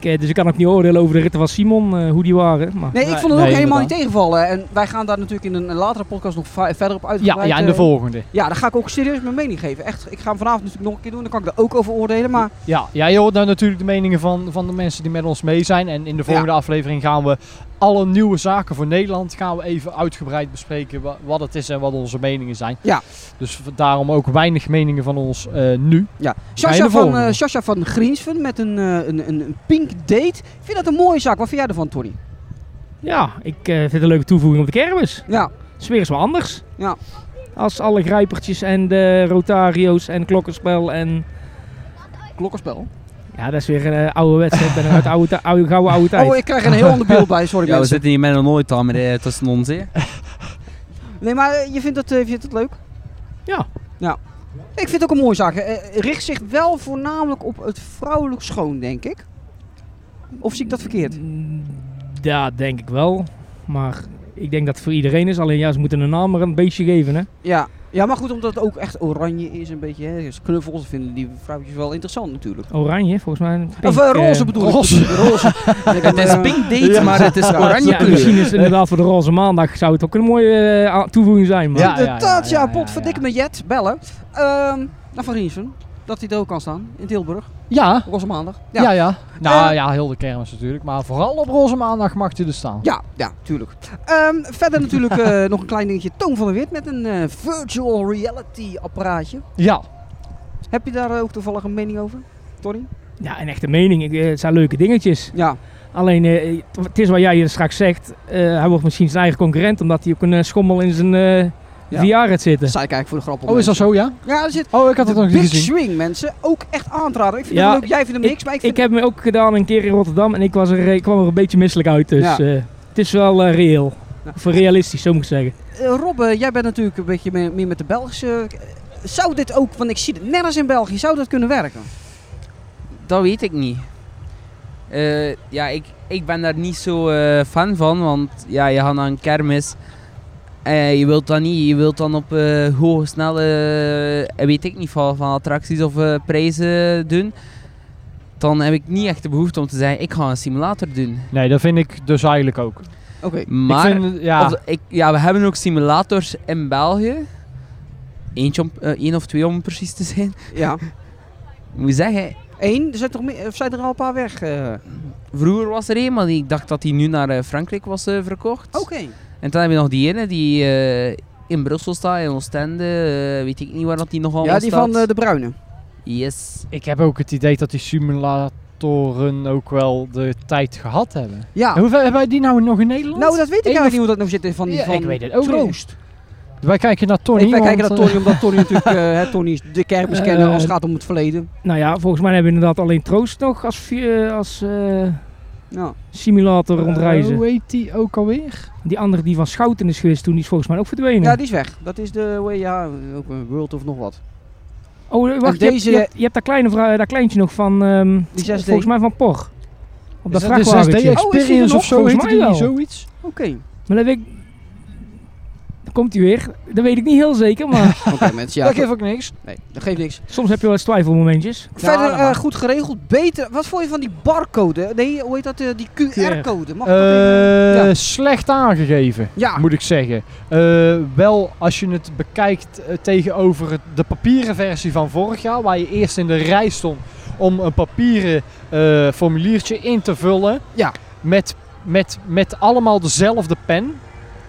Ik, eh, dus ik kan ook niet oordelen over de ritten van Simon, eh, hoe die waren. Maar
Nee, ik
Nee,
vond het ook
nee,
helemaal niet
inderdaad.
tegenvallen. En wij gaan daar natuurlijk in een, een latere podcast nog va- verder op
Ja,
uitgebreid.
ja, in de
eh,
volgende.
Ja, daar ga ik ook serieus mijn mening geven. Echt, ik ga hem vanavond natuurlijk nog een keer doen. Dan kan ik daar ook over oordelen. Maar
Ja, ja, je hoort nou natuurlijk de meningen van, van de mensen die met ons mee zijn. En in de volgende aflevering gaan we alle nieuwe zaken voor Nederland gaan we even uitgebreid bespreken wa- wat het is en wat onze meningen zijn.
Ja.
Dus v- daarom ook weinig meningen van ons eh, nu.
ja,
ga je
Sasha
de
van,
volgende?
eh Sasha van Greensven met een, eh, een, een, een pink date. Ik vind dat een mooie zaak. Wat vind jij ervan, Tony?
ja, ik eh, vind het een leuke toevoeging op de kermis.
Ja,
Het is weer eens wel anders.
Ja.
Als alle grijpertjes en de rotario's en klokkenspel en...
klokkenspel.
Ja, dat is weer een eh, oude wedstrijd en uit oude, ti- oude, gouden oude tijd.
Oh, ik krijg er een heel ander beeld bij. Sorry
Ja, we
mensen.
zitten hier met een nooit aan, maar eh, tussen ons hè.
Nee, maar eh, je vindt dat, eh, je vindt dat leuk?
Ja.
Ja. Ik vind het ook een mooie zaak. Eh, richt zich wel voornamelijk op het vrouwelijk schoon, denk ik. Of zie ik dat verkeerd?
Mm, Ja, denk ik wel. Maar ik denk dat het voor iedereen is. Alleen ja, ze moeten een naam maar een beetje geven, hè.
Ja. Ja, maar goed, omdat het ook echt oranje is, een beetje. Hè, dus knuffels vinden die vrouwtjes wel interessant natuurlijk.
Oranje, volgens mij. Pink,
of eh, roze
eh,
bedoel ik. Roze.
Het is pink date, maar het is oranje
Ja,
kleur.
misschien is het inderdaad voor de roze maandag zou het ook een mooie eh, a- toevoeging zijn. Maar.
Ja, ja, ja,
Inderdaad, ja,
ja, ja,
potverdik
ja.
me Jet, bellen. Ehm naar Van Riesen, dat hij er ook kan staan in Tilburg.
Ja,
Roze maandag. Ja,
ja,
ja,
ja. Nou
Eh.
ja, heel de kermis natuurlijk. Maar vooral op roze maandag mag hij er staan.
ja, tuurlijk. Ehm, verder natuurlijk eh, nog een klein dingetje. Toon van der Wit met een eh, virtual reality apparaatje.
Ja.
Heb je daar eh, ook toevallig een mening over, Tony?
Ja, een echte mening. Ik, eh, het zijn leuke dingetjes.
Ja,
Alleen, eh, het is wat jij hier straks zegt. eh, hij wordt misschien zijn eigen concurrent, omdat hij ook een eh, schommel in zijn eh
Ja.
VR gaat
dat
zitten.
zei ik eigenlijk voor de grap. op
Oh, is dat
mensen.
zo, ja?
Ja, er zit
Oh, ik had het nog
Big
niet gezien.
Swing, mensen. Ook echt aanraden. Ik vind
Ja,
het leuk. Jij vindt hem niks, maar ik
Ik
vind
heb me ook gedaan een keer in Rotterdam en ik, was er, eh, ik kwam er een beetje misselijk uit. Dus
Ja.
eh, het is wel eh, reëel.
Ja.
Of realistisch, zo moet ik zeggen.
Eh, Rob, eh, jij bent natuurlijk een beetje meer, meer met de Belgische... Zou dit ook, want ik zie het nergens in België, zou dat kunnen werken?
Dat weet ik niet. Eh, ja, ik, ik ben daar niet zo eh, fan van, want ja, je gaat naar een kermis. Eh, je wilt dat niet. Je wilt dan op eh hoge snelle, eh, weet ik niet, van, van attracties of eh, prijzen doen. Dan heb ik niet echt de behoefte om te zeggen, ik ga een simulator doen.
Nee, dat vind ik dus eigenlijk ook.
Oké.
Maar,
ik vind, ja,
of- ik, ja, we hebben ook simulators in België. Eentje om, eh, één of twee om precies te zijn.
Ja.
Ik moet zeggen,
Eén, er zijn, toch meer, of zijn er al een paar weg? eh?
vroeger was er één, maar ik dacht dat die nu naar eh, Frankrijk was eh, verkocht.
Oké.
En dan heb je nog die ene die eh, in Brussel staat, in Oostende, eh, weet ik niet waar dat die nog allemaal
Ja, die
staat.
van eh, de Bruine.
Yes.
ik heb ook het idee dat die simulatoren ook wel de tijd gehad hebben.
Ja.
Hoe ver hebben wij die nou nog in Nederland?
Ah. Nou, dat weet ik
Eén
eigenlijk
of-
niet hoe dat nou zit eh, van die
Ja,
van
ik weet het ook niet.
Troost.
Wij kijken naar Tony.
ik, wij
want,
kijken naar
eh,
Tony, omdat Tony natuurlijk eh, hè, Tony is de kermis kennen
Eh,
als het gaat om het verleden.
Nou ja, volgens mij hebben we inderdaad alleen Troost nog als, vi- eh, als eh,
Ja.
simulator rondreizen.
eh,
Oh,
hoe heet die ook alweer?
Die andere die van Schouten is geweest toen, die is volgens mij ook verdwenen.
ja, die is weg. Dat is de hoe heet- ja, ook een World of nog wat.
oh, eh, wacht, je,
deze-
hebt, je, hebt, je hebt dat, kleine, vrou- dat kleintje nog van, ehm,
Die 6D.
volgens mij van Por. Op dat
Is dat de 6D
vrachtwagentje.
Oh, is die er
Experience
nog?
of zo
Volgens
heet
mij
die
wel.
zoiets?
Oké.
Maar dat weet ik... Dan komt hij weer. Dat weet ik niet heel zeker, maar
Oké mensen, ja.
dat geeft ook niks.
Nee, dat geeft niks.
soms heb je wel eens twijfelmomentjes.
Verder
dat
eh,
mag.
goed geregeld, beter. Wat vond je van die barcode? Nee, hoe heet dat? eh, die QR-code. Mag dat even-
Eh,
Ja.
Slecht aangegeven,
Ja,
Ah. moet ik zeggen. Eh, wel, als je het bekijkt eh, tegenover het- de papieren versie van vorig jaar, waar je eerst in de rij stond om een papieren eh, formuliertje in te vullen.
Ja.
Met, met, met allemaal dezelfde pen.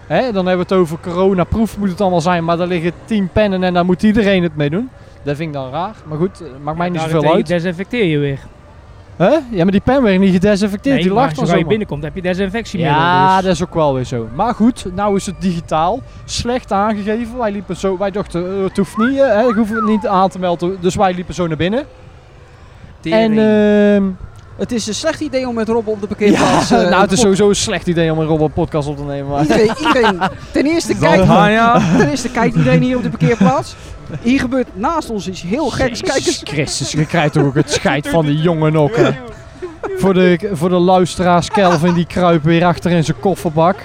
Hè, dan hebben we het over coronaproof moet het allemaal zijn, maar daar liggen tien pennen en daar moet iedereen het mee doen. Dat vind ik dan raar, maar goed, eh, maakt mij niet zoveel uit.
Desinfecteer Nou, je weer.
Hè? Ja, maar die pen werd niet gedesinfecteerd,
Nee,
die
maar
lag dan
zodra je
zomaar.
binnenkomt heb je desinfectiemiddel.
Ja,
dus.
dat is ook wel weer zo. Maar goed, nou is het digitaal. Slecht aangegeven. Wij, liepen zo, wij dachten, eh, het hoeft niet, eh, hè, ik hoef het niet aan te melden. Dus wij liepen zo naar binnen.
Dus
En
eh,
ehm,
het is een slecht idee om met Rob op de parkeerplaats... eh,
nou, het is
een pod-
sowieso een slecht idee om een robot podcast op te nemen. Maar
Iedereen, iedereen, ten, eerste kijkt, ten eerste kijkt iedereen hier op de parkeerplaats. Hier gebeurt naast ons iets heel geks. Oh, Kijk eens.
Jezus Christus, je krijgt toch ook het scheid van die jongen ook. hè. Voor de, voor de luisteraars, Kelvin die kruipt weer achter in zijn kofferbak.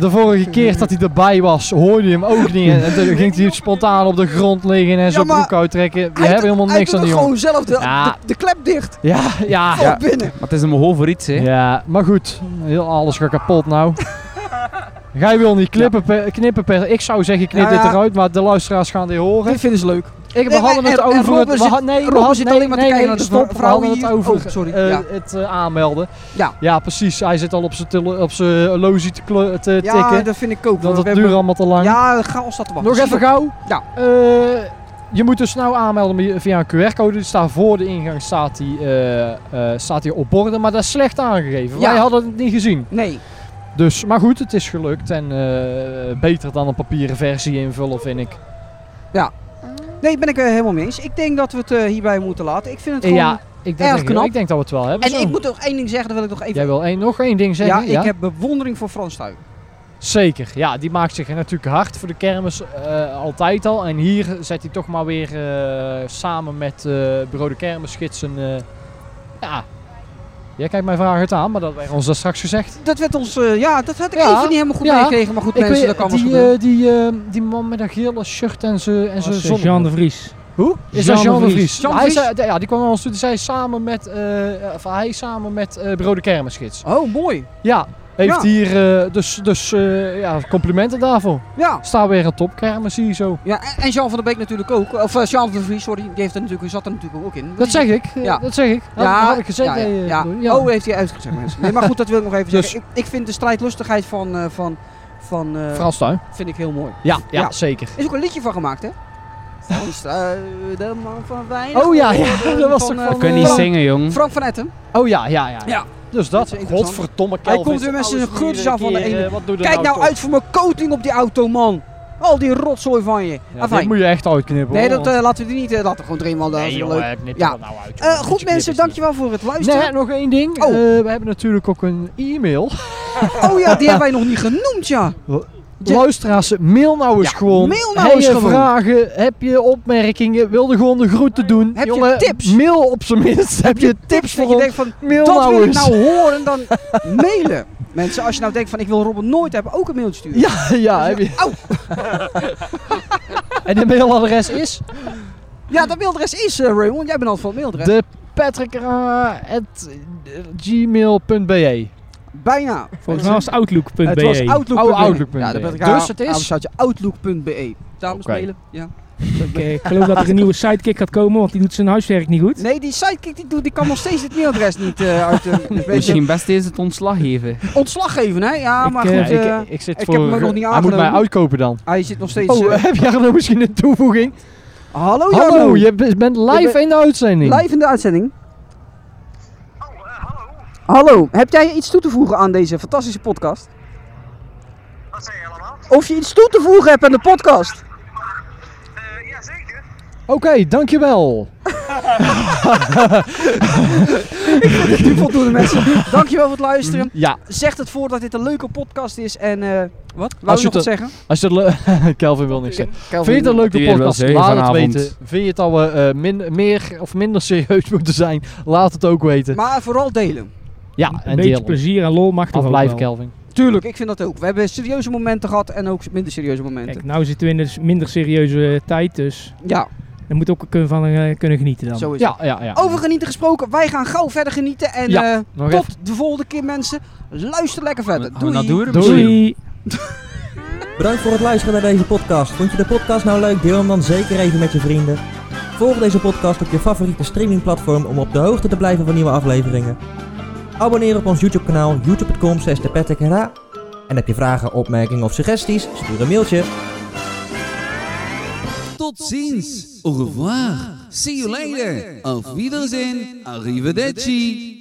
De vorige keer dat hij erbij was, hoorde je hem ook niet. En toen ging hij spontaan op de grond liggen en zijn
maar
broek uittrekken. We
Hij
hebben
doet-
helemaal
hij
niks
doet
aan die
het
jongen.
gewoon zelf de,
Ja.
de, de klep dicht.
Ja, ja,
Van binnen.
Maar het is een behoor voor iets, hè.
ja. Maar goed, heel alles gaat kapot nou. Jij wil niet knippen, per, knippen per... Ik zou zeggen, knip
Nou ja.
dit eruit, maar de luisteraars gaan dit horen.
Dit vinden ze leuk.
Ik, we
Nee,
hadden
en-
het
en
over
Robben
het... we
zit-
had- nee, we
Robben
had-
zit
nee,
alleen maar te
nee,
kijken
nee,
naar de
stop, we
vrouwen
hadden het
hier.
over
Oh, sorry,
eh,
ja.
het eh, aanmelden.
Ja.
ja, precies. Hij zit al op zijn tele- op zijn lozie te, kle- te
Ja,
tikken.
dat vind ik ook.
want
want we
het duurt
hebben-
allemaal te lang.
Ja, chaos staat te wachten.
Nog even gauw.
Ja.
Eh, je moet dus nou aanmelden met- via een QR-code. Die staat voor de ingang staat die, eh, eh, staat die op borden, maar dat is slecht aangegeven.
Ja.
Wij hadden het niet gezien.
Nee.
Dus, maar goed, het is gelukt. En eh, beter dan een papieren versie invullen, vind ik.
Nee, ben ik eh, helemaal mee eens. Ik denk dat we het eh, hierbij moeten laten. Ik vind het
Eh,
gewoon...
ja, ik denk,
erg
dat-
knap.
ik denk dat we het wel hebben.
en
zo.
ik moet nog één ding zeggen, dat wil ik nog even...
Jij wil één- nog één ding zeggen?
ja, ik heb bewondering voor Frans Tuin.
Zeker, ja, die maakt zich natuurlijk hard voor de kermis eh, altijd al. En hier zet hij toch maar weer eh, samen met eh Bureau de Kermisgids een, eh, ja, Jij kijkt mij vragen aan, maar dat werd ons dat straks gezegd.
Dat werd ons, eh, ja, dat had ik
Ja,
even niet helemaal goed
ja.
meegekregen. Maar goed,
Ik
mensen,
weet-
dat kan wel eens
die,
gebeuren.
eh, die, eh, die man met dat gele shirt en zijn en zijn zonnebril.
eh, Jean de Vries.
Hoe? Is
Jean
dat Jean
de
de
Vries.
Vries?
Jean de
hij,
Vries?
zei- ja, die kwam naar ons toe. Die zei samen met, eh, of hij samen met eh Brode Kermisgids.
Oh, mooi.
Ja, heeft
Ja.
hier, eh, dus, dus eh, ja, complimenten daarvoor.
Ja.
Staat weer een topkermis hier zo.
ja. En en Jean van der Beek natuurlijk ook. Of eh, Jean van der Vries, sorry. Die heeft er natuurlijk, zat er natuurlijk ook in.
Dat zeg ik, eh,
Ja.
dat zeg ik. Had,
Ja,
had ik gezegd.
ja, ja,
eh,
ja. Dus-
door-
Oh, heeft hij uitgezegd, mensen. Nee, maar goed, dat wil ik nog even zeggen. Ik, ik vind de strijdlustigheid van, eh, van, van eh,
Frans Tuin.
vind ik heel mooi.
Ja, ja,
Ja.
zeker.
Er is ook een liedje van gemaakt, hè? Frans Tuin, de man van weinig.
Oh ja, ja,
woorden,
dat was toch
eh,
We
van,
kunnen
eh,
niet
Frank-
zingen, jong.
Frank van Etten.
Oh ja, ja, ja.
Ja.
Dus
Dat
dat,
is interessant.
godverdomme
Hij
Kelvin,
komt weer met
alles
zijn
nu
guntjes
weer
af van de
keer,
ene.
eh, wat doe je
Kijk nou
toch?
uit voor mijn coating op die auto, man. Al die rotzooi van je.
Ja,
Afijn.
dit moet je echt uitknippen.
Nee,
hoor,
dat
want-
eh, laten we die niet. eh, laten we gewoon erin, want dat
Nee,
is
jongen,
leuk.
knip
Ja.
dat nou uit,
Eh,
jongen. Dat
goed
knippen
mensen,
is niet-
dankjewel voor het luisteren.
Nee, nog één ding.
Oh.
Eh, we hebben natuurlijk ook een e-mail.
Oh ja, die hebben wij nog niet genoemd, ja. Ja.
Luisteraars, mail nou eens
Ja,
gewoon.
mail nou
Heb
eens
je
gewoon. Eh,
vragen? Heb je opmerkingen? Wilde gewoon de groeten doen?
Heb je
Jongen,
tips?
Mail op zijn minst. Heb je tips
dat
voor
je
ons?
denkt van,
Mail
dat wil
nou
ik
eens.
nou horen, dan mailen. Mensen, als je nou denkt van, ik wil Robben nooit hebben, ook een mailtje sturen.
Ja, ja. Heb je...
Au.
en de mailadres is?
Ja, dat mailadres is, eh, Raymond. Jij bent altijd van het mailadres.
De patrickra.gmail.be
Bijna.
Volgens mij was het outlook.be.
Het was outlook.be.
Oh, outlook.be.
E. Ja, de Patrick
Dus
Haar-
het is-
Haar- staat je outlook.be. E. Dames
Oké.
mailen. Ja.
Ik eh, geloof dat er een nieuwe sidekick gaat komen, want die doet zijn huiswerk niet goed.
Nee, die sidekick die, doet, die kan nog steeds het mailadres niet eh uit de... dus weet je,
Misschien best eens het ontslag geven.
ontslag geven, hè? Ja, maar
Ik,
goed.
eh, ik-
eh,
ik, zit
ik
voor...
heb hem ook nog niet
Hij moet mij
aangenomen.
uitkopen dan.
hij zit nog
Oh,
steeds... eh, Oh,
heb jij er misschien een toevoeging?
hallo,
Hallo,
Jarno.
je b- bent
Ik
live
ben-
in de uitzending.
Live in de uitzending.
Oh, eh,
Hallo, heb jij iets toe te voegen aan deze fantastische podcast?
Wat zei je allemaal?
Of je iets toe te voegen hebt aan de podcast?
Eh ja, zeker.
Oké, dankjewel.
Nu voldoende mensen. Dankjewel voor het luisteren.
Ja,
Zegt het voor dat dit een leuke podcast is en... eh wat? Wou
Als
je
je
nog wat zeggen?
als je het leuk... Kelvin wil niks zeggen.
Kelvin.
Vind je het een leuke
Die wil wel
podcast?
zeggen
Laat het
vanavond.
weten. Vind je het al we eh, min- meer of minder serieus moeten zijn? Laat het ook weten.
Maar vooral delen.
ja,
Een
en
beetje
deel. hem.
plezier en lol mag toch ook
Afblijven,
wel.
Kelvin.
Tuurlijk, ik vind dat ook. We hebben serieuze momenten gehad en ook minder serieuze momenten.
Kijk, nou zitten we in een s- minder serieuze eh, tijd, dus
ja,
daar moet ook kunnen van eh, kunnen genieten dan.
zo is
Ja, ja, ja.
het. Over genieten gesproken, wij gaan gauw verder genieten. En
Ja,
eh,
Nog
tot
even.
de volgende keer mensen. Luister lekker verder. Doei.
Doei.
Bedankt voor het luisteren naar deze podcast. Vond je de podcast nou leuk? Deel hem dan zeker even met je vrienden. Volg deze podcast op je favoriete streamingplatform om op de hoogte te blijven van nieuwe afleveringen. Abonneer op ons YouTube kanaal youtube.com slash thepatrickhera. En heb je vragen, opmerkingen of suggesties? Stuur een mailtje.
Tot ziens. Au revoir. See you later. Auf Wiedersehen. Arrivederci.